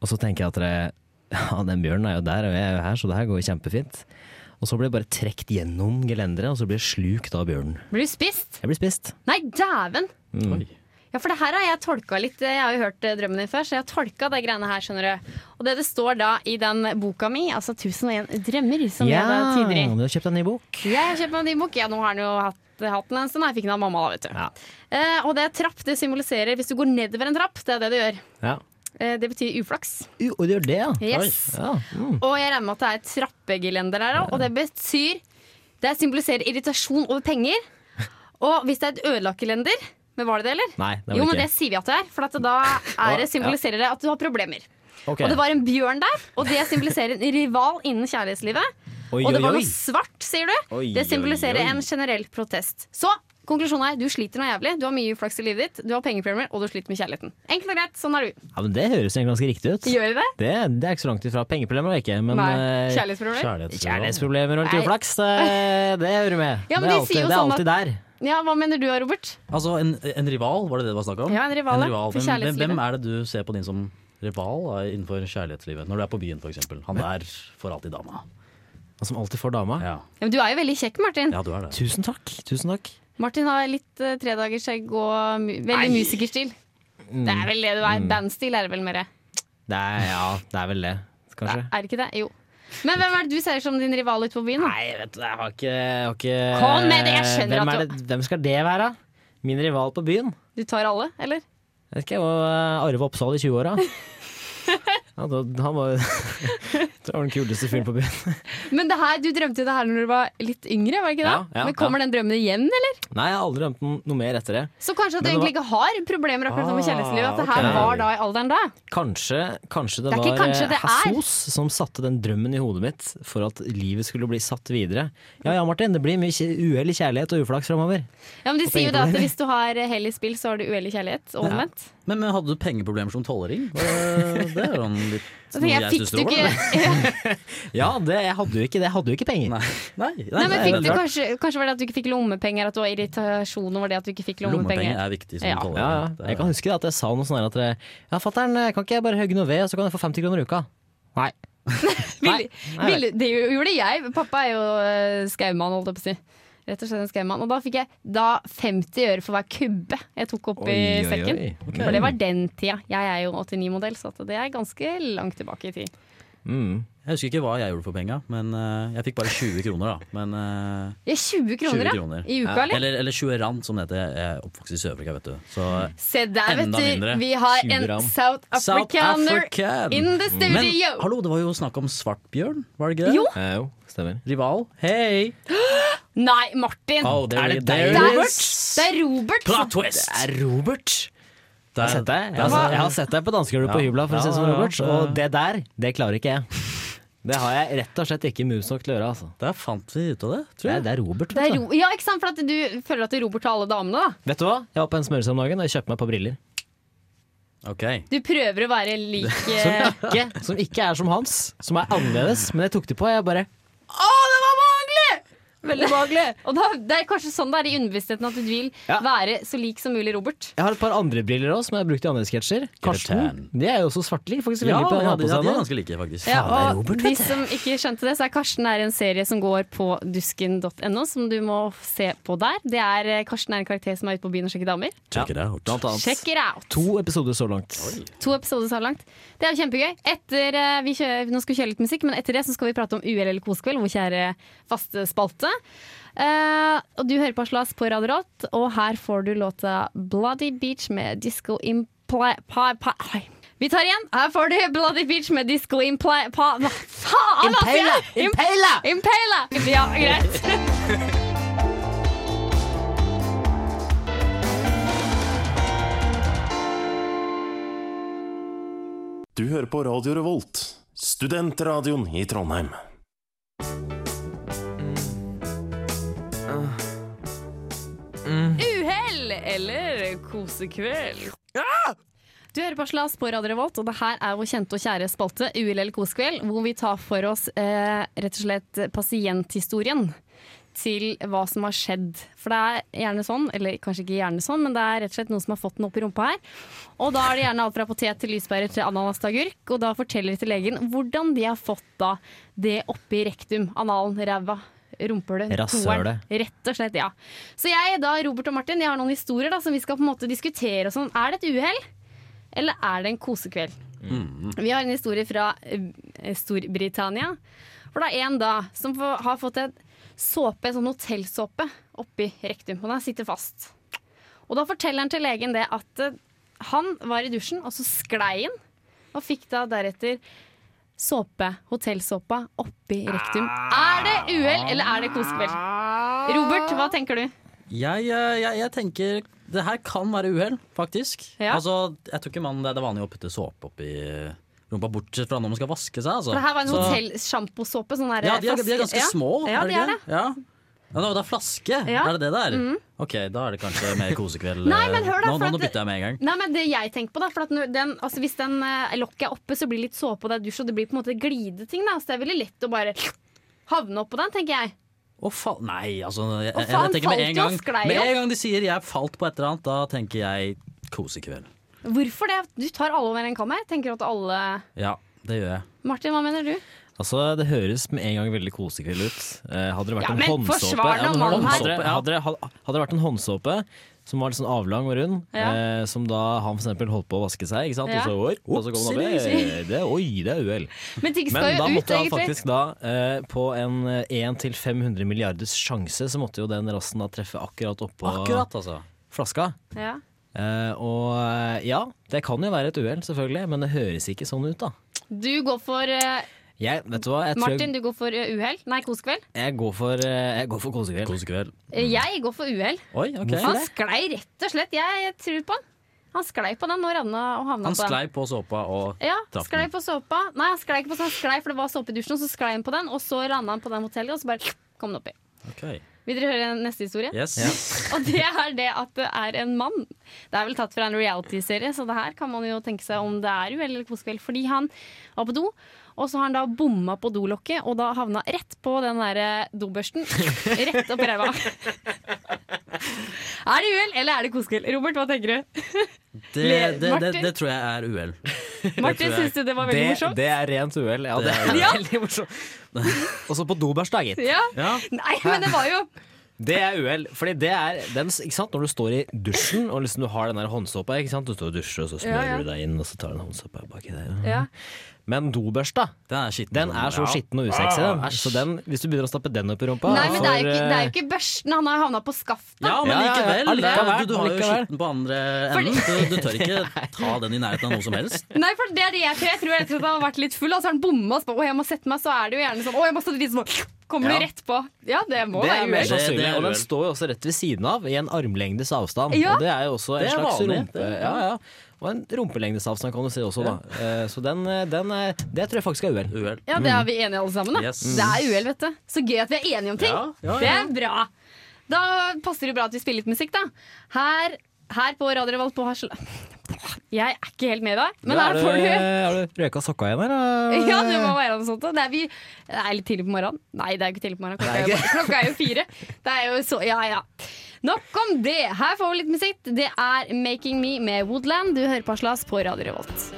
[SPEAKER 5] Og så tenker jeg at det, ja, den bjørnen er jo der, og jeg er jo her, så det her går jo kjempefint. Og så blir jeg bare trukket gjennom gelenderet, og så blir jeg slukt av bjørnen.
[SPEAKER 2] Blir du spist?
[SPEAKER 5] Jeg blir spist.
[SPEAKER 2] Nei, dæven!
[SPEAKER 5] Mm.
[SPEAKER 2] Ja, for det her har jeg tolka litt. Jeg har jo hørt eh, drømmen din før, så jeg har tolka de greiene her, skjønner du. Og det det står da i den boka mi, altså 1001 drømmer, som
[SPEAKER 5] Ja,
[SPEAKER 2] jeg da tidligere
[SPEAKER 5] du har kjøpt en ny bok.
[SPEAKER 2] Jeg har kjøpt meg en ny bok. Ja, nå har han jo hatt eh, hatten en stund. Jeg fikk den av mamma, da, vet du. Eh, og det er trapp det symboliserer Hvis du går nedover en trapp, det er det det gjør.
[SPEAKER 5] Ja.
[SPEAKER 2] Eh, det betyr uflaks.
[SPEAKER 5] U, og du gjør det, ja?
[SPEAKER 2] Yes.
[SPEAKER 5] Oi. Ja. Mm.
[SPEAKER 2] Og jeg regner med at det er et trappegelender der òg. Og det betyr Det symboliserer irritasjon over penger. Og hvis det er et ødelagt gelender Men var det det, eller?
[SPEAKER 5] Nei, det var
[SPEAKER 2] jo,
[SPEAKER 5] det
[SPEAKER 2] men
[SPEAKER 5] ikke.
[SPEAKER 2] det sier vi at det er. For at da er det symboliserer det at du har problemer.
[SPEAKER 5] Ok.
[SPEAKER 2] Og det var en bjørn der, og det symboliserer en rival innen kjærlighetslivet.
[SPEAKER 5] Oi,
[SPEAKER 2] og det
[SPEAKER 5] oi,
[SPEAKER 2] var
[SPEAKER 5] oi.
[SPEAKER 2] noe svart, sier du.
[SPEAKER 5] Oi,
[SPEAKER 2] det symboliserer
[SPEAKER 5] oi, oi.
[SPEAKER 2] en generell protest. Så konklusjonen er du sliter noe jævlig, du har mye uflaks i livet ditt, du har pengeproblemer, og du sliter med kjærligheten. Enkelt og greit, sånn er du.
[SPEAKER 5] Ja, men Det høres egentlig ganske riktig ut.
[SPEAKER 2] Gjør vi det?
[SPEAKER 5] Det, det er ikke så langt ifra. Pengeproblemer er det ikke, men
[SPEAKER 2] Nei.
[SPEAKER 5] eh,
[SPEAKER 2] Kjærlighetsproblemer?
[SPEAKER 5] kjærlighetsproblemer og litt
[SPEAKER 2] Nei.
[SPEAKER 5] uflaks, det, det hører med.
[SPEAKER 2] Ja, men
[SPEAKER 5] det er
[SPEAKER 2] de sier
[SPEAKER 5] alltid,
[SPEAKER 2] jo
[SPEAKER 5] det er
[SPEAKER 2] sånn
[SPEAKER 5] alltid der.
[SPEAKER 2] Ja, hva mener du, Robert?
[SPEAKER 4] Altså, en, en rival, var det det det var snakk om?
[SPEAKER 2] Ja, en rival, ja, for
[SPEAKER 4] Hvem, hvem, hvem
[SPEAKER 2] kjærlighetslivet.
[SPEAKER 4] er det du ser på din som rival da, innenfor kjærlighetslivet? Når du er på byen, f.eks. Han der får alltid dama.
[SPEAKER 5] Og som alltid får dama.
[SPEAKER 4] Ja,
[SPEAKER 2] Ja, men du er jo veldig kjekk, Martin.
[SPEAKER 4] ja du er det.
[SPEAKER 5] Tusen takk. Tusen takk.
[SPEAKER 2] Martin har litt uh, tredagersskjegg og mu veldig musikerstil.
[SPEAKER 5] Mm.
[SPEAKER 2] Det er vel det du er. Bandstil er det vel mer.
[SPEAKER 5] Det er, ja, det er vel det, kanskje.
[SPEAKER 2] Er det ikke det? Jo. Men hvem er det du ser som din rival ute på byen? da?
[SPEAKER 5] Nei, vet du, jeg har ikke, jeg har ikke eh,
[SPEAKER 2] Kom med det, jeg skjønner
[SPEAKER 5] hvem
[SPEAKER 2] at
[SPEAKER 5] er det, Hvem skal det være? Min rival på byen?
[SPEAKER 2] Du tar alle, eller?
[SPEAKER 5] Jeg vet ikke, jeg var Arve Oppsal i 20-åra. Han var, han var det var den kuleste fyren på byen.
[SPEAKER 2] Men det her, du drømte jo det her når du var litt yngre, var det ikke det?
[SPEAKER 5] Ja, ja,
[SPEAKER 2] Men kommer den drømmen igjen, eller?
[SPEAKER 5] Nei, jeg har aldri drømt om noe mer etter det.
[SPEAKER 2] Så kanskje at du
[SPEAKER 5] Men det
[SPEAKER 2] egentlig ikke har problemer akkurat som i kjærlighetslivet, at det
[SPEAKER 5] Ah,
[SPEAKER 2] her
[SPEAKER 5] ok.
[SPEAKER 2] var da i alderen da?
[SPEAKER 5] Kanskje, kanskje det,
[SPEAKER 2] Det er ikke
[SPEAKER 5] var
[SPEAKER 2] kanskje, det
[SPEAKER 5] eh,
[SPEAKER 2] er.
[SPEAKER 5] Hassos som satte den drømmen i hodet mitt for at livet skulle bli satt videre. Ja ja, Martin, det blir mye kje- uhell, kjærlighet og uflaks framover.
[SPEAKER 2] Ja, men de sier jo det
[SPEAKER 5] tenker
[SPEAKER 2] at hvis du har hell i spill, så har du uhellig kjærlighet, og omvendt.
[SPEAKER 4] Men, men hadde du pengeproblemer som tolvåring? Det, det er jo sånn litt
[SPEAKER 2] Så
[SPEAKER 4] noe
[SPEAKER 2] jeg fikk
[SPEAKER 4] stusser
[SPEAKER 2] du
[SPEAKER 4] over,
[SPEAKER 2] ikke
[SPEAKER 4] da.
[SPEAKER 5] Ja, det, jeg hadde jo ikke det. Jeg hadde jo ikke penger.
[SPEAKER 4] Nei, nei, nei,
[SPEAKER 2] Nei, men
[SPEAKER 4] det er
[SPEAKER 2] fikk
[SPEAKER 4] veldig
[SPEAKER 2] du
[SPEAKER 4] rart.
[SPEAKER 2] kanskje, kanskje var det at du ikke fikk lommepenger, at du var irritasjon over det at du ikke fikk
[SPEAKER 4] Lommepenger
[SPEAKER 2] lommepenger?
[SPEAKER 4] er viktig som
[SPEAKER 2] Ja.
[SPEAKER 5] Ja, ja.
[SPEAKER 4] tolvåring.
[SPEAKER 5] Jeg kan huske det at jeg sa noe sånn her at det- Ja, fatter'n, eh, kan ikke jeg bare hogge noe ved, og så kan jeg få 50 kroner i uka? Nei.
[SPEAKER 2] Vil,
[SPEAKER 5] Nei,
[SPEAKER 2] vil, det gjorde jeg. Pappa er jo eh, skaumann, holdt jeg på å si. Rett og slett en skaumann. Og da fikk jeg da 50 øre for hver kubbe jeg tok opp i
[SPEAKER 5] Oi, oi,
[SPEAKER 2] sekken.
[SPEAKER 5] oi. Ok.
[SPEAKER 2] For det var den tida. Jeg er jo 89-modell, så at det er ganske langt tilbake i tid.
[SPEAKER 5] Mm.
[SPEAKER 4] Jeg husker ikke hva jeg gjorde for penga, men eh, jeg fikk bare 20 kroner, da. Men eh,
[SPEAKER 2] Ja, 20 kroner,
[SPEAKER 4] 20
[SPEAKER 2] ja,
[SPEAKER 4] kroner.
[SPEAKER 2] I uka, eller?
[SPEAKER 4] Eller, eller 20 rand, som det heter. Jeg er oppvokst i Sør-Afrika, vet du. Så
[SPEAKER 2] Se der, vet
[SPEAKER 4] Enda
[SPEAKER 2] du.
[SPEAKER 4] mindre.
[SPEAKER 2] Vi har
[SPEAKER 5] 20
[SPEAKER 2] en
[SPEAKER 5] gram.
[SPEAKER 2] South Africaner
[SPEAKER 4] African.
[SPEAKER 2] in the
[SPEAKER 4] Men
[SPEAKER 2] studio!
[SPEAKER 4] hallo, det var jo snakk om svartbjørn, var det ikke det?
[SPEAKER 2] Jo.
[SPEAKER 5] Eh, jo, stemmer.
[SPEAKER 4] Rival. Hei!
[SPEAKER 2] Nei, Martin!
[SPEAKER 4] Oh, there
[SPEAKER 5] Er
[SPEAKER 4] it-
[SPEAKER 5] det
[SPEAKER 4] there
[SPEAKER 5] deg,
[SPEAKER 4] it
[SPEAKER 2] det, er,
[SPEAKER 5] Robert?
[SPEAKER 2] det er Robert!
[SPEAKER 4] Plot
[SPEAKER 2] som-
[SPEAKER 4] twist!
[SPEAKER 5] Det er Eh, Robert. Jeg har sett deg, jeg
[SPEAKER 4] Der-
[SPEAKER 5] har, jeg har sett deg på danskegulvet på
[SPEAKER 4] Ja.
[SPEAKER 5] hybla, for å si det
[SPEAKER 4] Ja,
[SPEAKER 5] som
[SPEAKER 4] ja,
[SPEAKER 5] Robert.
[SPEAKER 4] ja.
[SPEAKER 5] Og det der, det klarer ikke jeg. Det har jeg rett og slett ikke moves nok til å gjøre, altså.
[SPEAKER 4] Der fant vi ut av det, tror
[SPEAKER 5] Det
[SPEAKER 4] jeg.
[SPEAKER 5] er, det er Robert,
[SPEAKER 2] Det
[SPEAKER 5] vet
[SPEAKER 2] er
[SPEAKER 5] du.
[SPEAKER 2] Ro ja, ikke sant? For at du føler at Robert har alle damene, da.
[SPEAKER 5] Vet du hva? Jeg var på en smørelse om dagen og jeg kjøpte meg på briller.
[SPEAKER 4] Ok.
[SPEAKER 2] Du prøver å være lik eh,
[SPEAKER 5] Som ikke, som ikke er som hans, som er annerledes. Men jeg tok de på, og jeg bare
[SPEAKER 2] Å, det var behagelig! Veldig behagelig. Og da, det er kanskje sånn det er i underbevisstheten, at du vil
[SPEAKER 5] Ja.
[SPEAKER 2] være så lik som mulig Robert.
[SPEAKER 5] Jeg har et par andre briller òg, som jeg har brukt i andre sketsjer. Karsten.
[SPEAKER 4] tan.
[SPEAKER 5] De er jo også svartlig. Faktisk
[SPEAKER 4] Ja,
[SPEAKER 5] veldig på han
[SPEAKER 4] ja,
[SPEAKER 5] har
[SPEAKER 4] de,
[SPEAKER 5] på
[SPEAKER 4] ja,
[SPEAKER 5] seg
[SPEAKER 4] de
[SPEAKER 5] nå.
[SPEAKER 4] er ganske like, faktisk.
[SPEAKER 2] Ja,
[SPEAKER 5] det er
[SPEAKER 2] og
[SPEAKER 5] Robert,
[SPEAKER 2] de
[SPEAKER 5] vet du.
[SPEAKER 2] som ikke skjønte det, så er Karsten er en serie som går på dusken.no, som du må se på der. Det er eh, Karsten er en karakter som er ute på byen og sjekker damer.
[SPEAKER 4] Check it out.
[SPEAKER 5] Blant annet.
[SPEAKER 2] Check it out!
[SPEAKER 5] To episoder så langt.
[SPEAKER 2] To episoder så langt. Det er jo kjempegøy. Etter, eh, vi kjører, nå skal vi kjøre litt musikk, men etter det så skal vi prate om UL eller kosekveld, vår kjære faste spalte. Eh, og du hører på Aslas på Radio Rått, og her får du låta 'Bloody Beach' med Disco Imply... Pa, pa, ai. vi tar igjen. Her får du 'Bloody Beach' med Disco Imply... Pa, hva faen, altså! Im- Impala! Ja, greit.
[SPEAKER 8] Du hører på Radio Revolt, studentradioen i Trondheim.
[SPEAKER 2] Uhell eller kosekveld? Du hører på Slas på Radio Revolt, og det her er vår kjente og kjære spalte Uhell eller kosekveld, hvor vi tar for oss eh, rett og slett pasienthistorien til hva som har skjedd. For det er gjerne sånn, eller kanskje ikke gjerne sånn, men det er rett og slett noen som har fått den opp i rumpa her. Og da er det gjerne alt fra potet til lyspærer til ananas til agurk, og da forteller de til legen hvordan de har fått da det oppi rektum, analen, ræva. Rumpehullet.
[SPEAKER 5] Rasshølet.
[SPEAKER 2] toeren. Rett og slett, ja. Så jeg, da, Robert og Martin, jeg har noen historier da, som vi skal på en måte diskutere. Og sånn. Er det et uhell, eller er det en kosekveld?
[SPEAKER 4] Mm.
[SPEAKER 2] Vi har en historie fra eh, Storbritannia. For det er en da som få- har fått en såpe, en sånn hotellsåpe oppi rektum. Og den sitter fast. Og da forteller han til legen det at eh, han var i dusjen, og så sklei han. Og fikk da deretter såpe, hotellsåpa, oppi rektum. Er det uhell, eller er det kosekveld? Robert, hva tenker du?
[SPEAKER 4] Jeg, eh, jeg, jeg tenker det her kan være uhell, faktisk.
[SPEAKER 2] Ja.
[SPEAKER 4] Altså, jeg tror ikke man, det er vanlig å putte såpe oppi eh, rumpa, bortsett fra når man skal vaske seg. Altså.
[SPEAKER 2] For det her var en
[SPEAKER 4] Så-
[SPEAKER 2] hotellsjamposåpe. Sånn der,
[SPEAKER 4] Ja, de er, de er
[SPEAKER 2] flaske-
[SPEAKER 4] ganske små.
[SPEAKER 2] Ja, de
[SPEAKER 4] ikke
[SPEAKER 2] er det.
[SPEAKER 4] Ja. Ja, det var da flaske,
[SPEAKER 2] Ja. Mm.
[SPEAKER 4] er det det der? Ok, da er det kanskje mer kosekveld. eh,
[SPEAKER 2] Nei, men hør da,
[SPEAKER 4] nå,
[SPEAKER 2] for
[SPEAKER 4] nå, nå
[SPEAKER 2] at det-
[SPEAKER 4] bytter jeg med en gang.
[SPEAKER 2] Nei, men det jeg tenker på da For at når den, altså Hvis den eh, lokket er oppe, så blir det litt såpe, og det er dusj, og det blir på en måte glideting. Da. Så det er veldig lett å bare havne oppå den, tenker jeg.
[SPEAKER 4] Å faen, nei, altså jeg,
[SPEAKER 2] Å,
[SPEAKER 4] jeg,
[SPEAKER 2] faen,
[SPEAKER 4] jeg tenker med
[SPEAKER 2] falt
[SPEAKER 4] en
[SPEAKER 2] jo og
[SPEAKER 4] gang
[SPEAKER 2] sklei
[SPEAKER 4] Med
[SPEAKER 2] opp.
[SPEAKER 4] en gang de sier 'jeg falt på et eller annet', da tenker jeg kosekveld.
[SPEAKER 2] Hvorfor det? Du tar alle over en kam her. Tenker at alle
[SPEAKER 4] Ja, det gjør jeg.
[SPEAKER 2] Martin, hva mener du?
[SPEAKER 5] Altså, Det høres med en gang veldig kosekveld ut. Eh, hadde det vært
[SPEAKER 2] Ja,
[SPEAKER 5] en
[SPEAKER 2] men
[SPEAKER 5] håndsåpe,
[SPEAKER 2] forsvar da,
[SPEAKER 5] men hør da,
[SPEAKER 2] mannen her.
[SPEAKER 5] håndsåpe- hadde, det- hadde, hadde det vært en håndsåpe som var litt sånn avlang og rund,
[SPEAKER 2] Ja.
[SPEAKER 5] eh, som da han for eksempel holdt på å vaske seg, ikke sant?
[SPEAKER 2] Ja.
[SPEAKER 5] og så går, og så kom han opp eh, det, Oi, det er uhell.
[SPEAKER 2] Men ting skal
[SPEAKER 5] Men da
[SPEAKER 2] jo ut,
[SPEAKER 5] måtte han
[SPEAKER 2] egentlig.
[SPEAKER 5] faktisk da, eh, på en eh, 1 til 500 milliarders sjanse, så måtte jo den rassen da treffe akkurat oppå
[SPEAKER 4] Akkurat, altså.
[SPEAKER 5] flaska.
[SPEAKER 2] Ja.
[SPEAKER 5] Eh, og eh, ja, det kan jo være et uhell, selvfølgelig, men det høres ikke sånn ut, da.
[SPEAKER 2] Du går for eh,
[SPEAKER 5] Jeg, vet du hva, jeg, tror
[SPEAKER 2] Martin,
[SPEAKER 5] jeg,
[SPEAKER 2] du går for eh, uhell? Nei, kosekveld?
[SPEAKER 5] jeg går for, eh, jeg går for kosekveld.
[SPEAKER 4] Kosekveld.
[SPEAKER 2] Eh, Jeg går for uhell.
[SPEAKER 4] Oi, ok.
[SPEAKER 2] Han sklei rett og slett. Jeg, jeg tror på han. Han sklei på den og ravna og havna
[SPEAKER 4] Han
[SPEAKER 2] på den.
[SPEAKER 4] sklei på såpa og
[SPEAKER 2] Ja,
[SPEAKER 4] Traff
[SPEAKER 2] sklei
[SPEAKER 4] den.
[SPEAKER 2] på såpa. Nei, han sklei ikke på sånn, han sklei, for det var såpe i dusjen, og så sklei han på den, og så randa han på den hotellet, og så bare kom den oppi.
[SPEAKER 4] Ok,
[SPEAKER 2] Vil dere høre neste historie?
[SPEAKER 4] yes.
[SPEAKER 2] Og det er det at det er en mann. Det er vel tatt fra en reality-serie, så det her kan man jo tenke seg om det er uhell eller kosekveld. Fordi han var på do, og så har han da bomma på dolokket, og da havna rett på den derre dobørsten. Rett opp i ræva. Er det uhell, eller er det kosekveld? Robert, hva tenker du?
[SPEAKER 4] Det, det, det,
[SPEAKER 2] Martin?
[SPEAKER 4] det tror jeg er uhell.
[SPEAKER 2] Martin,
[SPEAKER 4] tror jeg-
[SPEAKER 2] syns du det var veldig morsomt?
[SPEAKER 5] det er rent uhell. Ja,
[SPEAKER 4] Det er
[SPEAKER 2] Ja.
[SPEAKER 5] veldig morsomt. Og så på dobæsj, da, gitt.
[SPEAKER 2] Ja.
[SPEAKER 4] Ja.
[SPEAKER 2] Nei, men det var jo
[SPEAKER 5] Det er uhell. Fordi det er den, ikke sant? Når du står i dusjen og liksom du har den der håndsåpa ikke sant? Du står og dusjer, og så smører
[SPEAKER 2] Ja, Mm. ja.
[SPEAKER 5] du deg inn, og så tar du den håndsåpa baki der.
[SPEAKER 2] Ja.
[SPEAKER 5] Men dobørsta,
[SPEAKER 4] Den er skitten.
[SPEAKER 5] den er så
[SPEAKER 4] Ja.
[SPEAKER 5] skitten og usexy, den. Så den, hvis du begynner å stappe den opp i rumpa
[SPEAKER 2] Nei, men det er jo ikke,
[SPEAKER 5] for, eh,
[SPEAKER 2] det er jo ikke børsten. Han har jo havna på skaftet.
[SPEAKER 4] Ja, men
[SPEAKER 5] Ja, ja, ja.
[SPEAKER 4] likevel.
[SPEAKER 5] Allikevel,
[SPEAKER 4] du, du har jo
[SPEAKER 5] allikevel.
[SPEAKER 4] skitten på andre enden. Du, du tør ikke ta den i nærheten av noe som helst.
[SPEAKER 2] Nei, for det er det jeg tror. Jeg tror rett og slett han har vært litt full, og så har han bomma og så bare, Å, jeg må sette meg, så er det jo gjerne sånn Å, jeg må stå litt sånn Kommer
[SPEAKER 4] Ja.
[SPEAKER 2] du rett på? Ja, det må
[SPEAKER 5] Det
[SPEAKER 2] være
[SPEAKER 5] er mer
[SPEAKER 2] uhell.
[SPEAKER 4] Det- det
[SPEAKER 5] sannsynlig.
[SPEAKER 4] er
[SPEAKER 5] Og den
[SPEAKER 4] uhell.
[SPEAKER 5] står jo også rett ved siden av, i en armlengdes avstand.
[SPEAKER 2] Ja.
[SPEAKER 5] Og det er jo også en
[SPEAKER 4] Det er
[SPEAKER 5] slags
[SPEAKER 4] vanlig.
[SPEAKER 5] rumpe... Ja, ja. Og en rumpelengdes avstand kan du si også, da. Eh, Så den, eh, den er, det tror jeg faktisk er uhell.
[SPEAKER 4] Uhell.
[SPEAKER 2] Ja, det er vi enige alle sammen, da.
[SPEAKER 4] Yes.
[SPEAKER 2] Det er uhell, vet du. Så gøy at vi er enige om ting.
[SPEAKER 4] Ja, ja,
[SPEAKER 2] Det
[SPEAKER 4] ja.
[SPEAKER 2] er bra. Da passer det bra at vi spiller litt musikk, da. Her, her på Radio Revolt på Harsel... Jeg er ikke helt med i dag, men
[SPEAKER 5] Ja,
[SPEAKER 2] her får du
[SPEAKER 5] Har du røyka sokka igjen her? da?
[SPEAKER 2] Ja, det må være noe sånt. da. Det er, vi, det er litt tidlig på morgenen. Nei, det er jo ikke tidlig på morgenen. Klokka er jo, klokka er jo fire. Det er jo så, ja, ja. Nok om det. Her får vi litt musikk. Det er 'Making Me' med Woodland. Du hører på Aslas på Radio Revolt.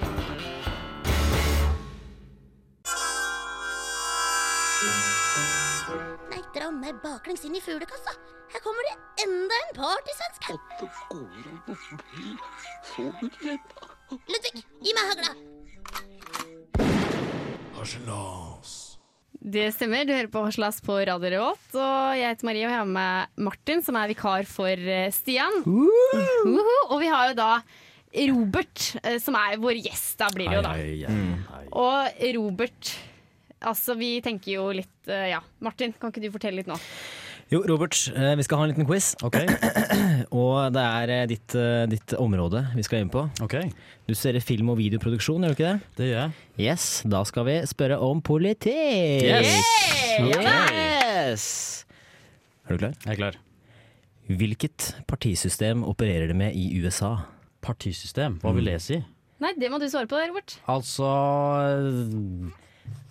[SPEAKER 3] Nei, dra meg baklengs inn i fuglekassa. Her kommer det enda en partysvensk her.
[SPEAKER 7] At det går an å bli forberedt.
[SPEAKER 3] Ludvig, gi meg hagla.
[SPEAKER 2] Det stemmer. Du hører på Aslas på Radio Revolt. Og jeg heter Marie, og jeg har med Martin, som er vikar for eh, Stian. Uhu. Og vi har jo da Robert, eh, som er vår gjest. Da blir det jo, da.
[SPEAKER 4] Ai, ai, ai.
[SPEAKER 2] Og Robert Altså, vi tenker jo litt eh, Ja, Martin, kan ikke du fortelle litt nå?
[SPEAKER 5] Jo, Robert, eh, vi skal ha en liten quiz. Og det er eh, ditt, eh, ditt område vi skal inn på.
[SPEAKER 4] Ok,
[SPEAKER 5] Du ser film- og videoproduksjon, gjør du ikke det?
[SPEAKER 4] det gjør jeg.
[SPEAKER 5] Yes, da skal vi spørre om politikk.
[SPEAKER 4] Yes.
[SPEAKER 5] Yes! Er du klar?
[SPEAKER 4] Jeg er klar.
[SPEAKER 5] Hvilket partisystem opererer det med i USA?
[SPEAKER 4] Partisystem, hva vil det si?
[SPEAKER 2] Nei, det må du svare på, Robert.
[SPEAKER 4] Altså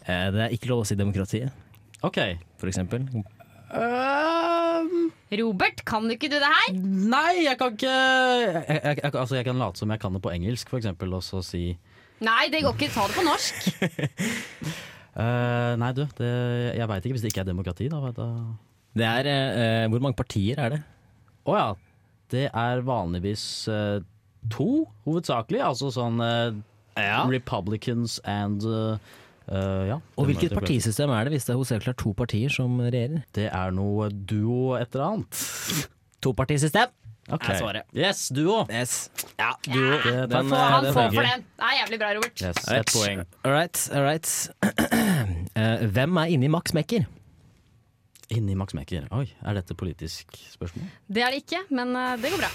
[SPEAKER 5] Eh, Det er ikke lov å si demokratiet,
[SPEAKER 4] OK.
[SPEAKER 5] for eksempel.
[SPEAKER 4] Eh,
[SPEAKER 2] Robert, kan du ikke du det her?
[SPEAKER 4] Nei, jeg kan ikke jeg, jeg, jeg, altså, jeg kan late som jeg kan det på engelsk, for eksempel, og så si
[SPEAKER 2] Nei, det går ikke. Ta det på norsk.
[SPEAKER 4] eh, Nei, du, det, jeg veit ikke. Hvis det ikke er demokrati, da. vet jeg-
[SPEAKER 5] Det er eh, eh, Hvor mange partier er det?
[SPEAKER 4] Å ja. Det er vanligvis eh, to, hovedsakelig. Altså sånn eh, Republicans and eh, eh, ja.
[SPEAKER 5] Og hvilket
[SPEAKER 4] Democrat-
[SPEAKER 5] partisystem er det hvis det hovedsakelig er to partier som regjerer?
[SPEAKER 4] Det er noe duo et eller annet.
[SPEAKER 5] Topartisystem!
[SPEAKER 4] Ok.
[SPEAKER 5] Jeg svarer.
[SPEAKER 4] Yes, duo.
[SPEAKER 5] Yes.
[SPEAKER 4] Ja, duo. Det, takk
[SPEAKER 5] den,
[SPEAKER 4] for
[SPEAKER 5] eh,
[SPEAKER 2] Han
[SPEAKER 5] den
[SPEAKER 4] det.
[SPEAKER 2] får
[SPEAKER 5] er
[SPEAKER 2] for
[SPEAKER 5] gøy.
[SPEAKER 2] den. Det er jævlig bra, Robert.
[SPEAKER 4] Yes, ett poeng.
[SPEAKER 5] All right, all right. Eh, hvem er inni Max Mekker?
[SPEAKER 4] Inni Max Mekker. Oi, er dette politisk spørsmål?
[SPEAKER 2] Det er det ikke, men eh, det går bra.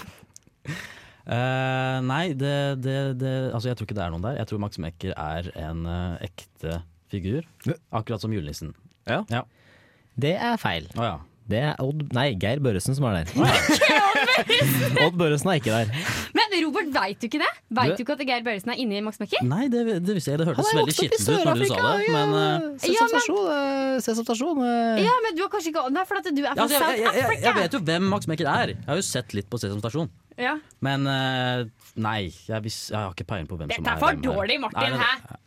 [SPEAKER 4] Eh, nei, det, det, det Altså, jeg tror ikke det er noen der. Jeg tror Max Mekker er en eh, ekte figur. Akkurat som julenissen.
[SPEAKER 5] Ja.
[SPEAKER 4] Ja.
[SPEAKER 5] Det er feil.
[SPEAKER 4] Å ja.
[SPEAKER 5] Det er Odd Nei, Geir Børresen som er der. Odd Børresen er ikke der.
[SPEAKER 2] Men Robert, veit du ikke det?
[SPEAKER 4] Du-
[SPEAKER 2] Veit du ikke at Geir Børresen er inne i Max Mekker?
[SPEAKER 4] Nei, det, det visste jeg. Det hørtes
[SPEAKER 5] Han er
[SPEAKER 4] veldig
[SPEAKER 5] vokst opp i
[SPEAKER 4] skittent ut når du sa
[SPEAKER 5] Sør-Afrika,
[SPEAKER 4] det.
[SPEAKER 5] ja.
[SPEAKER 4] Men eh,
[SPEAKER 5] Se
[SPEAKER 2] Ja,
[SPEAKER 5] som
[SPEAKER 2] men-
[SPEAKER 5] stasjon, eh, se som stasjon. eh.
[SPEAKER 2] Ja, men du har kanskje ikke Nei, for at du er fra
[SPEAKER 4] altså, jeg,
[SPEAKER 2] South
[SPEAKER 4] jeg, jeg, jeg
[SPEAKER 2] Africa.
[SPEAKER 4] vet jo hvem Max Mekker er. Jeg har jo sett litt på Sesam Stasjon.
[SPEAKER 2] Ja.
[SPEAKER 4] Men eh, nei, jeg, vis, jeg har ikke peiling på hvem som
[SPEAKER 2] Dette
[SPEAKER 4] er
[SPEAKER 2] er for
[SPEAKER 4] hvem her.
[SPEAKER 2] dårlig, Martin.
[SPEAKER 4] Nei, nei,
[SPEAKER 2] Hæ?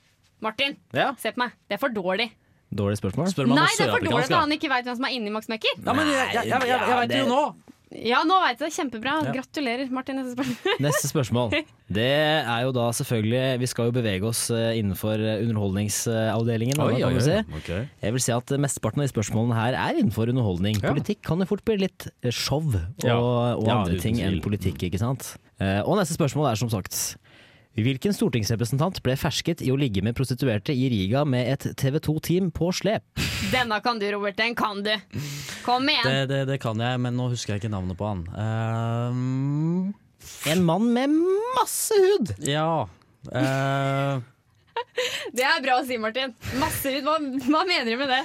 [SPEAKER 2] Martin,
[SPEAKER 4] Ja.
[SPEAKER 2] se på meg. Det er for dårlig.
[SPEAKER 5] Dårlig spørsmål.
[SPEAKER 4] Spør man
[SPEAKER 2] Nei,
[SPEAKER 4] om
[SPEAKER 2] det er for dårlig
[SPEAKER 4] sørafrikansk,
[SPEAKER 2] at
[SPEAKER 4] da.
[SPEAKER 2] han ikke veit hvem som er inni Max Mekker.
[SPEAKER 4] Ja, men jeg, jeg, jeg, jeg, jeg veit det jo nå!
[SPEAKER 2] Ja, nå veit jeg det. Kjempebra. Gratulerer, Martin. Neste spørsmål.
[SPEAKER 5] Neste spørsmål. Det er jo da selvfølgelig Vi skal jo bevege oss eh, innenfor eh, underholdningsavdelingen. da, kan du si.
[SPEAKER 4] Ok.
[SPEAKER 5] Jeg vil si at eh, mesteparten av de spørsmålene her er innenfor underholdning. Politikk kan jo fort bli litt eh, show og,
[SPEAKER 4] Ja.
[SPEAKER 5] og
[SPEAKER 4] Ja,
[SPEAKER 5] andre
[SPEAKER 4] uten
[SPEAKER 5] ting enn
[SPEAKER 4] tvil.
[SPEAKER 5] politikk, ikke sant. Eh, Og neste spørsmål er som sagt Hvilken stortingsrepresentant ble fersket i å ligge med prostituerte i Riga med et TV 2-team på slep?
[SPEAKER 2] Denne kan du, Robert. Den kan du. Kom
[SPEAKER 4] Det,
[SPEAKER 2] igjen.
[SPEAKER 4] det, det kan jeg, men nå husker jeg ikke navnet på han. Eh,
[SPEAKER 5] En mann med masse hud!
[SPEAKER 4] ja Eh,
[SPEAKER 2] Det er bra å si, Martin. Masse ut. Hva, hva mener du med det?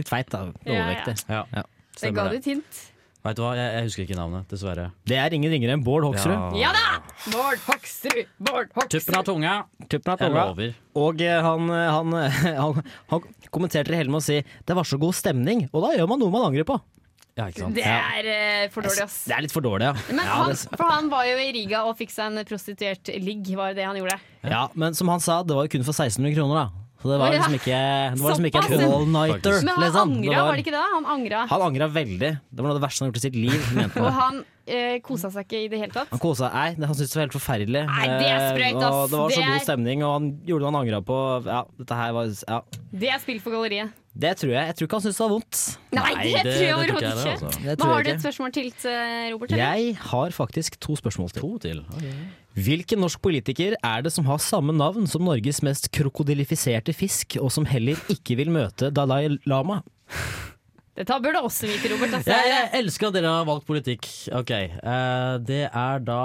[SPEAKER 5] Litt feit, da. Overvektig.
[SPEAKER 4] Ja.
[SPEAKER 2] Det ga
[SPEAKER 4] Stemmer
[SPEAKER 2] du
[SPEAKER 4] det.
[SPEAKER 2] et hint.
[SPEAKER 4] Vet du hva, jeg, jeg husker ikke navnet, dessverre.
[SPEAKER 5] Det er ingen ringere enn Bård Hoksrud.
[SPEAKER 2] Ja da! Bård Hoksrud! Bård
[SPEAKER 4] Tuppen av
[SPEAKER 2] Hoksrud.
[SPEAKER 4] tunga!
[SPEAKER 5] Tuppen av
[SPEAKER 4] Jeg
[SPEAKER 5] tunga.
[SPEAKER 4] lover.
[SPEAKER 5] Og eh, han, eh, han, eh, han, han kommenterte det hele med å si 'det var så god stemning', og da gjør man noe man angrer på.
[SPEAKER 4] Ja, ikke sant.
[SPEAKER 2] Det er eh, for dårlig, ass.
[SPEAKER 5] Det er litt for dårlig, ja.
[SPEAKER 2] Men
[SPEAKER 5] ja,
[SPEAKER 2] han,
[SPEAKER 5] det,
[SPEAKER 2] for han var jo i Riga og fikk seg en prostituert ligg, var det han gjorde.
[SPEAKER 5] ja, men som han sa, det var jo kun for 1600 kroner, da. Så det var
[SPEAKER 2] Å, ja.
[SPEAKER 5] liksom ikke, det var liksom ikke
[SPEAKER 2] Såpass,
[SPEAKER 5] en
[SPEAKER 2] ja.
[SPEAKER 5] all-nighter.
[SPEAKER 2] Men han
[SPEAKER 5] liksom.
[SPEAKER 2] angra, var det ikke det? da? Han angra.
[SPEAKER 5] Han angra veldig. Det var noe av det verste han har gjort i sitt liv. Mente
[SPEAKER 2] Og
[SPEAKER 5] han.
[SPEAKER 2] han eh, kosa seg ikke i det hele tatt.
[SPEAKER 5] Han kosa seg. Nei, det- han syntes det var helt forferdelig.
[SPEAKER 2] Nei, det er
[SPEAKER 5] Eh,
[SPEAKER 2] sprøyt,
[SPEAKER 5] og
[SPEAKER 2] ass.
[SPEAKER 5] det var så
[SPEAKER 2] Det
[SPEAKER 5] god
[SPEAKER 2] er-
[SPEAKER 5] stemning, og han gjorde det han angra på. Ja, dette her var ja.
[SPEAKER 2] Det er spill for galleriet.
[SPEAKER 5] Det tror jeg. Jeg tror ikke han syntes det var vondt.
[SPEAKER 2] Nei, det, tror
[SPEAKER 4] det-
[SPEAKER 2] jeg
[SPEAKER 4] det tror ikke
[SPEAKER 2] overhodet
[SPEAKER 4] jeg det,
[SPEAKER 2] ikke.
[SPEAKER 4] altså.
[SPEAKER 5] Det
[SPEAKER 2] Men
[SPEAKER 5] tror
[SPEAKER 2] har du
[SPEAKER 5] jeg
[SPEAKER 2] et
[SPEAKER 5] ikke.
[SPEAKER 2] spørsmål til, til Robert? eller?
[SPEAKER 5] Jeg har faktisk to spørsmål til.
[SPEAKER 4] To til.
[SPEAKER 5] Hvilken norsk politiker er det som har samme navn som Norges mest krokodillifiserte fisk, og som heller ikke vil møte Dalai Lama?
[SPEAKER 2] Dette bør du også vite, Robert. Altså.
[SPEAKER 4] Jeg, jeg elsker at dere har valgt politikk. Ok, eh, Det er da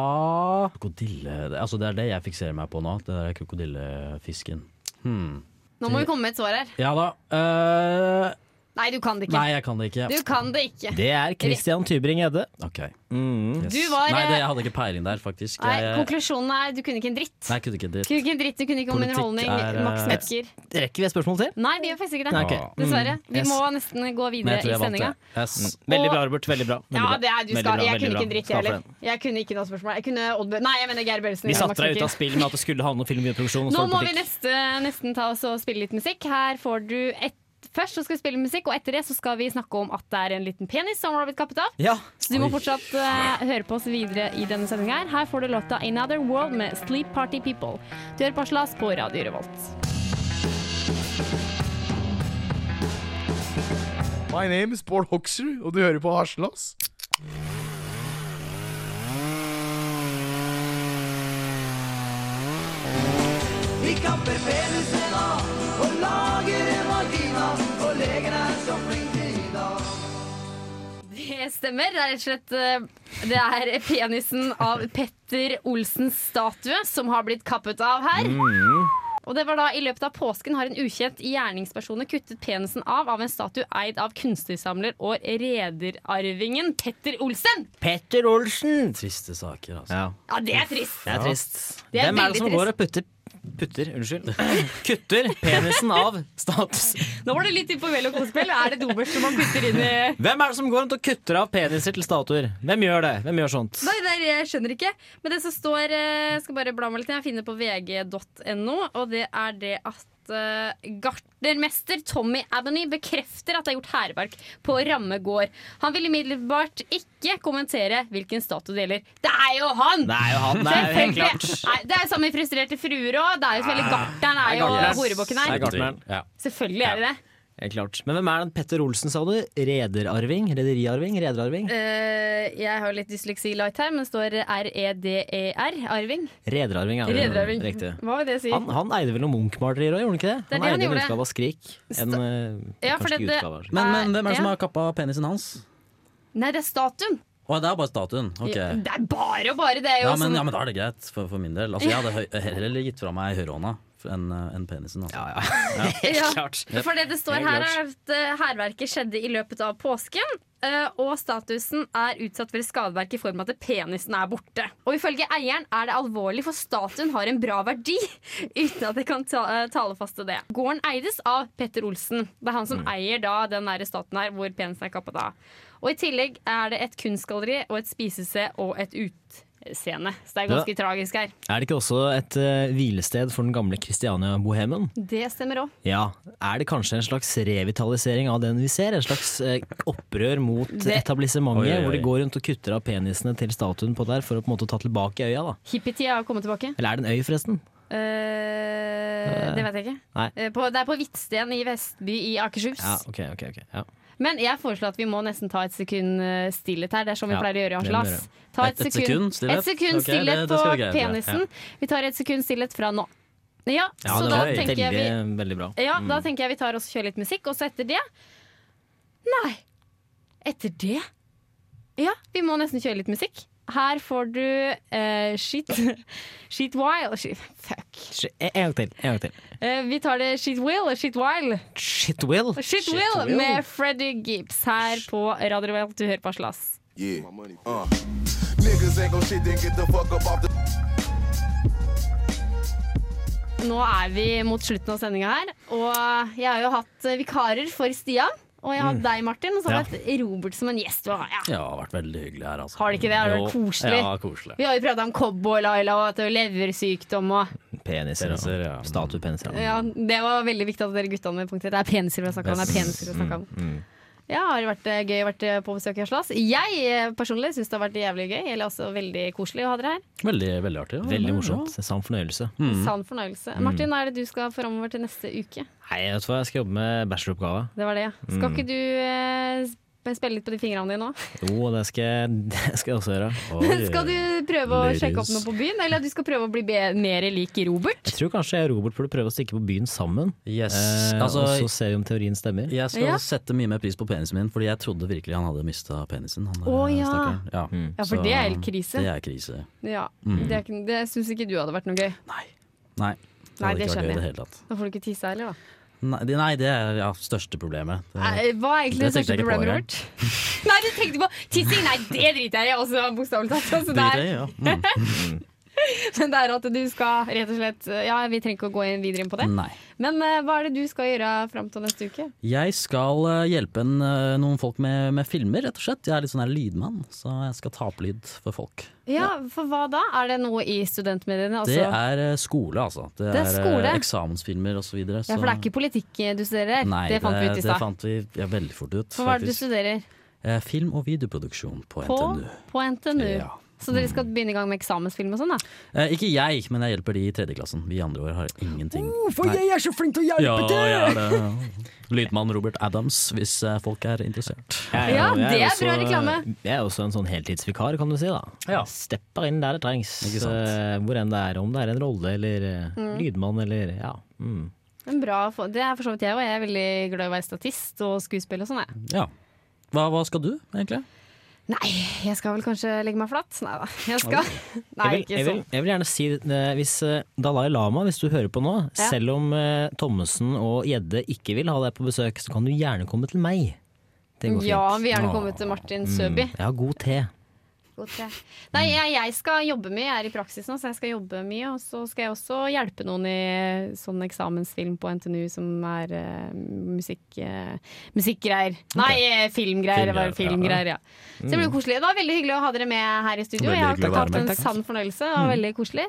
[SPEAKER 4] Krokodille det- Altså Det er det jeg fikserer meg på nå. Det der krokodillefisken.
[SPEAKER 2] Nå må vi komme med et svar her.
[SPEAKER 4] Ja da. eh,
[SPEAKER 2] Nei, du kan det ikke.
[SPEAKER 4] nei, jeg kan det ikke.
[SPEAKER 2] Du kan det ikke.
[SPEAKER 5] Det er Christian Tybring-Gjedde.
[SPEAKER 4] Ok yes.
[SPEAKER 2] Du var,
[SPEAKER 4] Nei,
[SPEAKER 2] eh,
[SPEAKER 4] det, jeg hadde ikke peiling der, faktisk.
[SPEAKER 2] Nei,
[SPEAKER 4] Jeg-
[SPEAKER 2] konklusjonen er du kunne ikke en dritt.
[SPEAKER 4] nei, jeg kunne ikke
[SPEAKER 2] Du kunne
[SPEAKER 4] det.
[SPEAKER 2] ikke en dritt, du kunne ikke om
[SPEAKER 4] Politikk
[SPEAKER 2] underholdning.
[SPEAKER 4] er, eh,
[SPEAKER 2] Max Mekker.
[SPEAKER 5] Rekker vi et spørsmål til?
[SPEAKER 2] Nei, det gjør faktisk ikke det.
[SPEAKER 5] Nei, ok. Mm.
[SPEAKER 2] Dessverre. Vi
[SPEAKER 5] Yes.
[SPEAKER 2] må nesten gå
[SPEAKER 4] Men jeg
[SPEAKER 2] videre i
[SPEAKER 4] tror jeg vant
[SPEAKER 2] sendinga.
[SPEAKER 4] det. Yes.
[SPEAKER 5] Veldig bra, Robert. Veldig bra. Veldig
[SPEAKER 2] Ja,
[SPEAKER 5] bra.
[SPEAKER 2] det er du
[SPEAKER 5] Veldig
[SPEAKER 2] skal.
[SPEAKER 5] bra,
[SPEAKER 2] jeg kunne
[SPEAKER 5] veldig bra.
[SPEAKER 2] ikke en dritt,
[SPEAKER 5] Skal
[SPEAKER 2] jeg
[SPEAKER 5] for
[SPEAKER 2] heller.
[SPEAKER 5] den.
[SPEAKER 2] Jeg kunne ikke noe spørsmål. Jeg kunne Odd Bø- Nei, jeg mener Geir Børresen.
[SPEAKER 5] Vi
[SPEAKER 2] ikke
[SPEAKER 5] satte
[SPEAKER 2] Max
[SPEAKER 5] deg ut
[SPEAKER 2] Mekker.
[SPEAKER 5] av spill med at det skulle handle om filmproduksjon. og
[SPEAKER 2] Nå
[SPEAKER 5] så
[SPEAKER 2] må vi
[SPEAKER 5] politikk.
[SPEAKER 2] neste, nesten ta oss og spille litt musikk. Her får du et Først så skal vi spille musikk, og etter det så skal vi snakke om at det er en liten penis som har blitt kappet av.
[SPEAKER 5] Ja.
[SPEAKER 2] Så du må fortsatt eh, høre på oss videre i denne sendinga. Her får du låta 'Another World' med 'Sleep Party People'. Du hører på Aslas på Radio Revolt.
[SPEAKER 9] My name is Bård Hoksrud, og du hører på Harselas.
[SPEAKER 2] Det stemmer. Det er rett og slett eh, Det er penisen av Petter Olsens statue som har blitt kappet av her. Og det var da I løpet av påsken har en ukjent gjerningsperson kuttet penisen av av en statue eid av kunstnersamler og rederarvingen Petter Olsen.
[SPEAKER 5] Petter Olsen!
[SPEAKER 4] Triste saker, altså.
[SPEAKER 5] Ja.
[SPEAKER 2] Ja, det er trist.
[SPEAKER 5] Det er trist.
[SPEAKER 2] Det er
[SPEAKER 5] Hvem er
[SPEAKER 2] veldig
[SPEAKER 5] det som
[SPEAKER 2] trist.
[SPEAKER 5] går og putter
[SPEAKER 10] Putter, unnskyld. Kutter penisen av status.
[SPEAKER 2] Nå var det litt inn på Vel og kosespill. Er det dobbelt som man putter inn i
[SPEAKER 10] Hvem er det som går rundt og kutter av peniser til statuer? Hvem gjør det? Hvem gjør sånt?
[SPEAKER 2] Nei, det er, jeg skjønner ikke. Men det som står eh, Jeg skal bare bla meg litt. Jeg finner på vg.no, og det er det at eh, gartnermester Tommy Abney bekrefter at det er gjort hærverk på Ramme gård. Han vil imidlertid ikke kommentere hvilken statue det gjelder. Det er jo han!
[SPEAKER 10] Det er jo han. Det er jo helt klart.
[SPEAKER 2] Selvfølgelig. Nei, det er jo samme frustrerte fruer òg. Selvfølgelig. Gartneren er jo
[SPEAKER 10] Gartneren.
[SPEAKER 2] horebukken
[SPEAKER 10] Det er
[SPEAKER 2] her.
[SPEAKER 10] gartneren. Ja,
[SPEAKER 2] Selvfølgelig er det det.
[SPEAKER 10] helt klart. Men hvem er den Petter Olsen, sa du? Rederarving? Rederiarving? Rederarving?
[SPEAKER 2] Eh, jeg har litt dysleksi light her, men det står E R-E-D-E-R. Arving.
[SPEAKER 10] Rederarving, ja.
[SPEAKER 2] Rederarving.
[SPEAKER 10] Riktig.
[SPEAKER 2] Hva vil det si?
[SPEAKER 10] Han, han eide vel noen Munch-malerier òg, gjorde han ikke det?
[SPEAKER 2] Det er det han
[SPEAKER 10] eide en
[SPEAKER 2] gjorde.
[SPEAKER 10] utgave av Skrik. En eh,
[SPEAKER 2] Ja, for
[SPEAKER 10] kanskje ikke
[SPEAKER 2] dette-
[SPEAKER 10] utgave av
[SPEAKER 5] Mm.
[SPEAKER 10] Skrik.
[SPEAKER 4] Men, men hvem er det som
[SPEAKER 2] Ja.
[SPEAKER 4] har kappa penisen hans?
[SPEAKER 2] Nei, det er statuen.
[SPEAKER 4] Å, det er bare statuen. Ok.
[SPEAKER 2] Ja, Det er bare og bare, det er jo
[SPEAKER 4] Ja men,
[SPEAKER 2] sånn
[SPEAKER 4] ja, men da er det greit, for, for min del. Altså, jeg hadde høy- heller gitt fra meg høyrehånda enn enn penisen. Altså.
[SPEAKER 2] Ja,
[SPEAKER 10] klart.
[SPEAKER 2] For det det står
[SPEAKER 10] Helt
[SPEAKER 2] her, er at eh, hærverket skjedde i løpet av påsken. eh, Og statusen er utsatt for skadeverk i form av at penisen er borte. Og ifølge eieren er det alvorlig, for statuen har en bra verdi. Uten at jeg kan ta eh, tale fast til det. Gården eides av Petter Olsen. Det er han som
[SPEAKER 4] Mm.
[SPEAKER 2] eier da den der statuen her hvor penisen er kappet av. Og i tillegg er det et kunstgalleri og et spisested og et utseende. Så det er ganske tragisk her.
[SPEAKER 5] Er det ikke også et eh, hvilested for den gamle Kristiania-bohemen?
[SPEAKER 2] Det stemmer òg.
[SPEAKER 5] Ja. Er det kanskje en slags revitalisering av den vi ser? En slags eh, opprør mot
[SPEAKER 2] Det-
[SPEAKER 5] etablissementet,
[SPEAKER 4] Oi, oi, oi.
[SPEAKER 5] hvor de går rundt og kutter av penisene til statuen på der for å på en måte ta tilbake øya, da.
[SPEAKER 2] Hippietida har kommet tilbake.
[SPEAKER 5] Eller er det en øy, forresten?
[SPEAKER 2] Eh, det vet jeg ikke.
[SPEAKER 5] Nei.
[SPEAKER 2] Eh, På, det er på Hvitsten i Vestby i Akershus.
[SPEAKER 5] Ja, ok, ok, ok. Ja.
[SPEAKER 2] Men jeg foreslår at vi må nesten ta et sekund eh, stillhet her. Det er sånn vi
[SPEAKER 5] Ja,
[SPEAKER 2] pleier å gjøre i
[SPEAKER 5] det må vi
[SPEAKER 2] Harselas. Ta
[SPEAKER 4] Et- et sekund stillhet?
[SPEAKER 2] et sekund
[SPEAKER 4] Ok, det-
[SPEAKER 2] stillhet
[SPEAKER 4] det skal vi
[SPEAKER 2] på
[SPEAKER 4] greie, tror jeg.
[SPEAKER 2] penisen. Vi tar et sekund stillhet fra nå. Ja,
[SPEAKER 5] Ja,
[SPEAKER 2] så
[SPEAKER 5] det
[SPEAKER 2] da
[SPEAKER 5] var
[SPEAKER 2] tenker,
[SPEAKER 5] veldig,
[SPEAKER 2] jeg vi,
[SPEAKER 5] veldig bra.
[SPEAKER 2] ja, da tenker jeg vi tar og kjører litt musikk, og så etter det Nei! Etter det? Ja, vi må nesten kjøre litt musikk. Her får du eh, Shit Shit Wild shit, Fuck.
[SPEAKER 5] Sh- En gang til. En gang til.
[SPEAKER 2] Eh, vi tar det Shit Will og Shit Wild.
[SPEAKER 5] Shit will!
[SPEAKER 2] Shit, Will, med Freddy Gibbs her på Radio Revolt. Du hører på Aslas.
[SPEAKER 7] Yeah. Uh. Niggas ain't gon' shit, then get the fuck up off the.
[SPEAKER 2] Nå er vi mot slutten av sendinga her, og jeg har jo hatt eh, vikarer for Stian. Og jeg har hatt deg, Martin, og så har jeg hatt Robert som en gjest. Og, ja.
[SPEAKER 4] Ja, det har vært veldig hyggelig her, altså.
[SPEAKER 2] Har det ikke det? Har det vært
[SPEAKER 4] Jo.
[SPEAKER 2] koselig?
[SPEAKER 4] Ja, koselig.
[SPEAKER 2] Vi har jo prata om cowboy-Laila og at det var leversykdom og
[SPEAKER 5] Peniser,
[SPEAKER 4] Peniser, ja.
[SPEAKER 5] og statuepeniser.
[SPEAKER 2] ja, Det var veldig viktig at dere guttene punktet. Det er peniser vi har snakka om. Det er peniser vi har snakket om. Ja, har det vært eh, gøy å være på besøk i Aslas? Jeg eh, personlig syns det har vært jævlig gøy, eller også veldig koselig å ha dere her.
[SPEAKER 4] Veldig, veldig artig. ja.
[SPEAKER 5] Veldig
[SPEAKER 4] Ja,
[SPEAKER 5] morsomt. Sann fornøyelse.
[SPEAKER 2] Sann fornøyelse. Martin, hva er det du skal framover til neste uke?
[SPEAKER 5] Nei, vet du hva, jeg skal jobbe med bacheloroppgave.
[SPEAKER 2] Det var det, ja. Skal ikke du eh, sp- spille litt på de fingrene dine nå?
[SPEAKER 5] Jo, det skal, jeg- det skal jeg også gjøre.
[SPEAKER 4] ja. Oi,
[SPEAKER 2] skal du prøve å
[SPEAKER 4] ladies.
[SPEAKER 2] sjekke opp noe på byen, eller at du skal prøve å bli be- mer lik Robert?
[SPEAKER 5] Jeg tror kanskje jeg og Robert burde prøve å stikke på byen sammen.
[SPEAKER 4] Yes.
[SPEAKER 5] Eh,
[SPEAKER 4] altså,
[SPEAKER 5] og så ser vi om teorien stemmer.
[SPEAKER 4] jeg skal
[SPEAKER 2] Ja.
[SPEAKER 4] sette mye mer pris på penisen min, Fordi jeg trodde virkelig han hadde mista penisen. Han,
[SPEAKER 2] Å,
[SPEAKER 4] eh,
[SPEAKER 2] ja.
[SPEAKER 4] stakkaren. Ja.
[SPEAKER 2] Ja, for
[SPEAKER 4] Så
[SPEAKER 2] det er helt krise.
[SPEAKER 4] Det er krise.
[SPEAKER 2] Ja, Det, er ikke- det syns ikke du hadde vært noe gøy.
[SPEAKER 4] Nei. Nei.
[SPEAKER 2] Nei, det
[SPEAKER 4] Det hadde ikke vært gøy i
[SPEAKER 2] skjønner
[SPEAKER 4] det
[SPEAKER 2] jeg.
[SPEAKER 4] hele tatt.
[SPEAKER 2] Da får du ikke tisse heller, da.
[SPEAKER 4] Nei, det- nei, det er ja, største problemet. Det,
[SPEAKER 2] Nei, Hva er egentlig det
[SPEAKER 4] Det
[SPEAKER 2] største
[SPEAKER 4] tenkte jeg ikke på
[SPEAKER 2] problemet,
[SPEAKER 4] engang.
[SPEAKER 2] Robert? Nei, du tenkte på tissing! Nei, det driter jeg i, også bokstavelig talt. Altså, det
[SPEAKER 4] Driter
[SPEAKER 2] er-
[SPEAKER 4] jeg i, ja. Mm.
[SPEAKER 2] Men det er at du skal rett og slett eh, Ja, vi trenger ikke å gå inn videre inn på det.
[SPEAKER 4] Nei.
[SPEAKER 2] Men eh, hva er det du skal gjøre fram til neste uke?
[SPEAKER 4] Jeg skal eh, hjelpe en, eh, noen folk med, med filmer, rett og slett. Jeg er litt sånn her lydmann, så jeg skal ta opp lyd for folk.
[SPEAKER 2] Ja, For hva da? Er det noe i studentmediene? Altså?
[SPEAKER 4] Det er eh, skole, altså. Det,
[SPEAKER 2] er
[SPEAKER 4] er, eh,
[SPEAKER 2] skole.
[SPEAKER 4] eksamensfilmer og så videre.
[SPEAKER 2] ja, For det er ikke politikk eh, du studerer?
[SPEAKER 4] sånn- Nei,
[SPEAKER 2] det fant vi ut i
[SPEAKER 4] Det
[SPEAKER 2] stad.
[SPEAKER 4] fant vi ja, veldig fort ut,
[SPEAKER 2] For hva er det du
[SPEAKER 4] faktisk.
[SPEAKER 2] studerer?
[SPEAKER 4] Eh, Film- og videoproduksjon på,
[SPEAKER 2] På
[SPEAKER 4] NTNU.
[SPEAKER 2] På NTNU.
[SPEAKER 4] Ja.
[SPEAKER 2] Så dere skal begynne i gang med eksamensfilm og sånn, da?
[SPEAKER 4] Eh, Ikke jeg, men jeg hjelper de i tredjeklassen. Vi andre år har ingenting.
[SPEAKER 2] Oh,
[SPEAKER 4] Nei.
[SPEAKER 5] er så flink til å
[SPEAKER 4] ja, jeg er det. Lydmann Robert Adams, hvis eh, folk er interessert.
[SPEAKER 2] Ja, det er bra reklame.
[SPEAKER 5] Jeg er også en sånn heltidsvikar, kan du si. da
[SPEAKER 4] Ja.
[SPEAKER 5] Stepper inn der det trengs.
[SPEAKER 4] Ikke sant.
[SPEAKER 5] eh, Hvor enn det er. Om det er en rolle eller eh, lydmann eller ja. Mm.
[SPEAKER 2] Men bra, for- det er for så vidt jeg òg. Jeg er veldig glad i å være statist og skuespiller og sånn. jeg.
[SPEAKER 4] Ja. Hva, hva skal du, egentlig?
[SPEAKER 2] Nei, jeg skal vel kanskje legge meg flatt? Nei da. Jeg skal Nei,
[SPEAKER 5] Jeg, vil,
[SPEAKER 2] ikke
[SPEAKER 5] jeg, vil,
[SPEAKER 2] sånn.
[SPEAKER 5] jeg vil gjerne si eh, hvis eh, Dalai Lama, hvis du hører på nå,
[SPEAKER 2] Ja.
[SPEAKER 5] selv om eh, Thommessen og Gjedde ikke vil ha deg på besøk, så kan du gjerne komme til meg. Det går fint. Mm.
[SPEAKER 2] Ja, han vil gjerne komme til Martin Søby.
[SPEAKER 5] Jeg har god te.
[SPEAKER 2] god til. Nei, jeg, jeg skal jobbe mye. Jeg er i praksis nå, så jeg skal jobbe mye. Og så skal jeg også hjelpe noen i sånn eksamensfilm på NTNU som er eh, musikk, eh, musikkgreier. Nei, eh, filmgreier. Det var
[SPEAKER 5] Filmgreier,
[SPEAKER 2] filmgreier, ja. Så det blir koselig. Det var veldig hyggelig å ha dere med her i
[SPEAKER 11] Mm.
[SPEAKER 2] studio.
[SPEAKER 11] Veldig
[SPEAKER 2] Jeg har
[SPEAKER 11] hyggelig å være
[SPEAKER 2] hatt
[SPEAKER 11] med,
[SPEAKER 2] en
[SPEAKER 11] takk. Mm.
[SPEAKER 2] sann fornøyelse. Det var veldig koselig.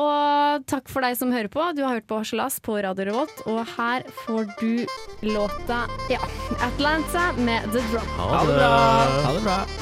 [SPEAKER 2] Og takk for deg som hører på. Du har hørt på Harselas på Radio Revolt, og her får du låta ja, 'Atlanta' med The Drop.
[SPEAKER 4] Ha det bra. Ha det bra.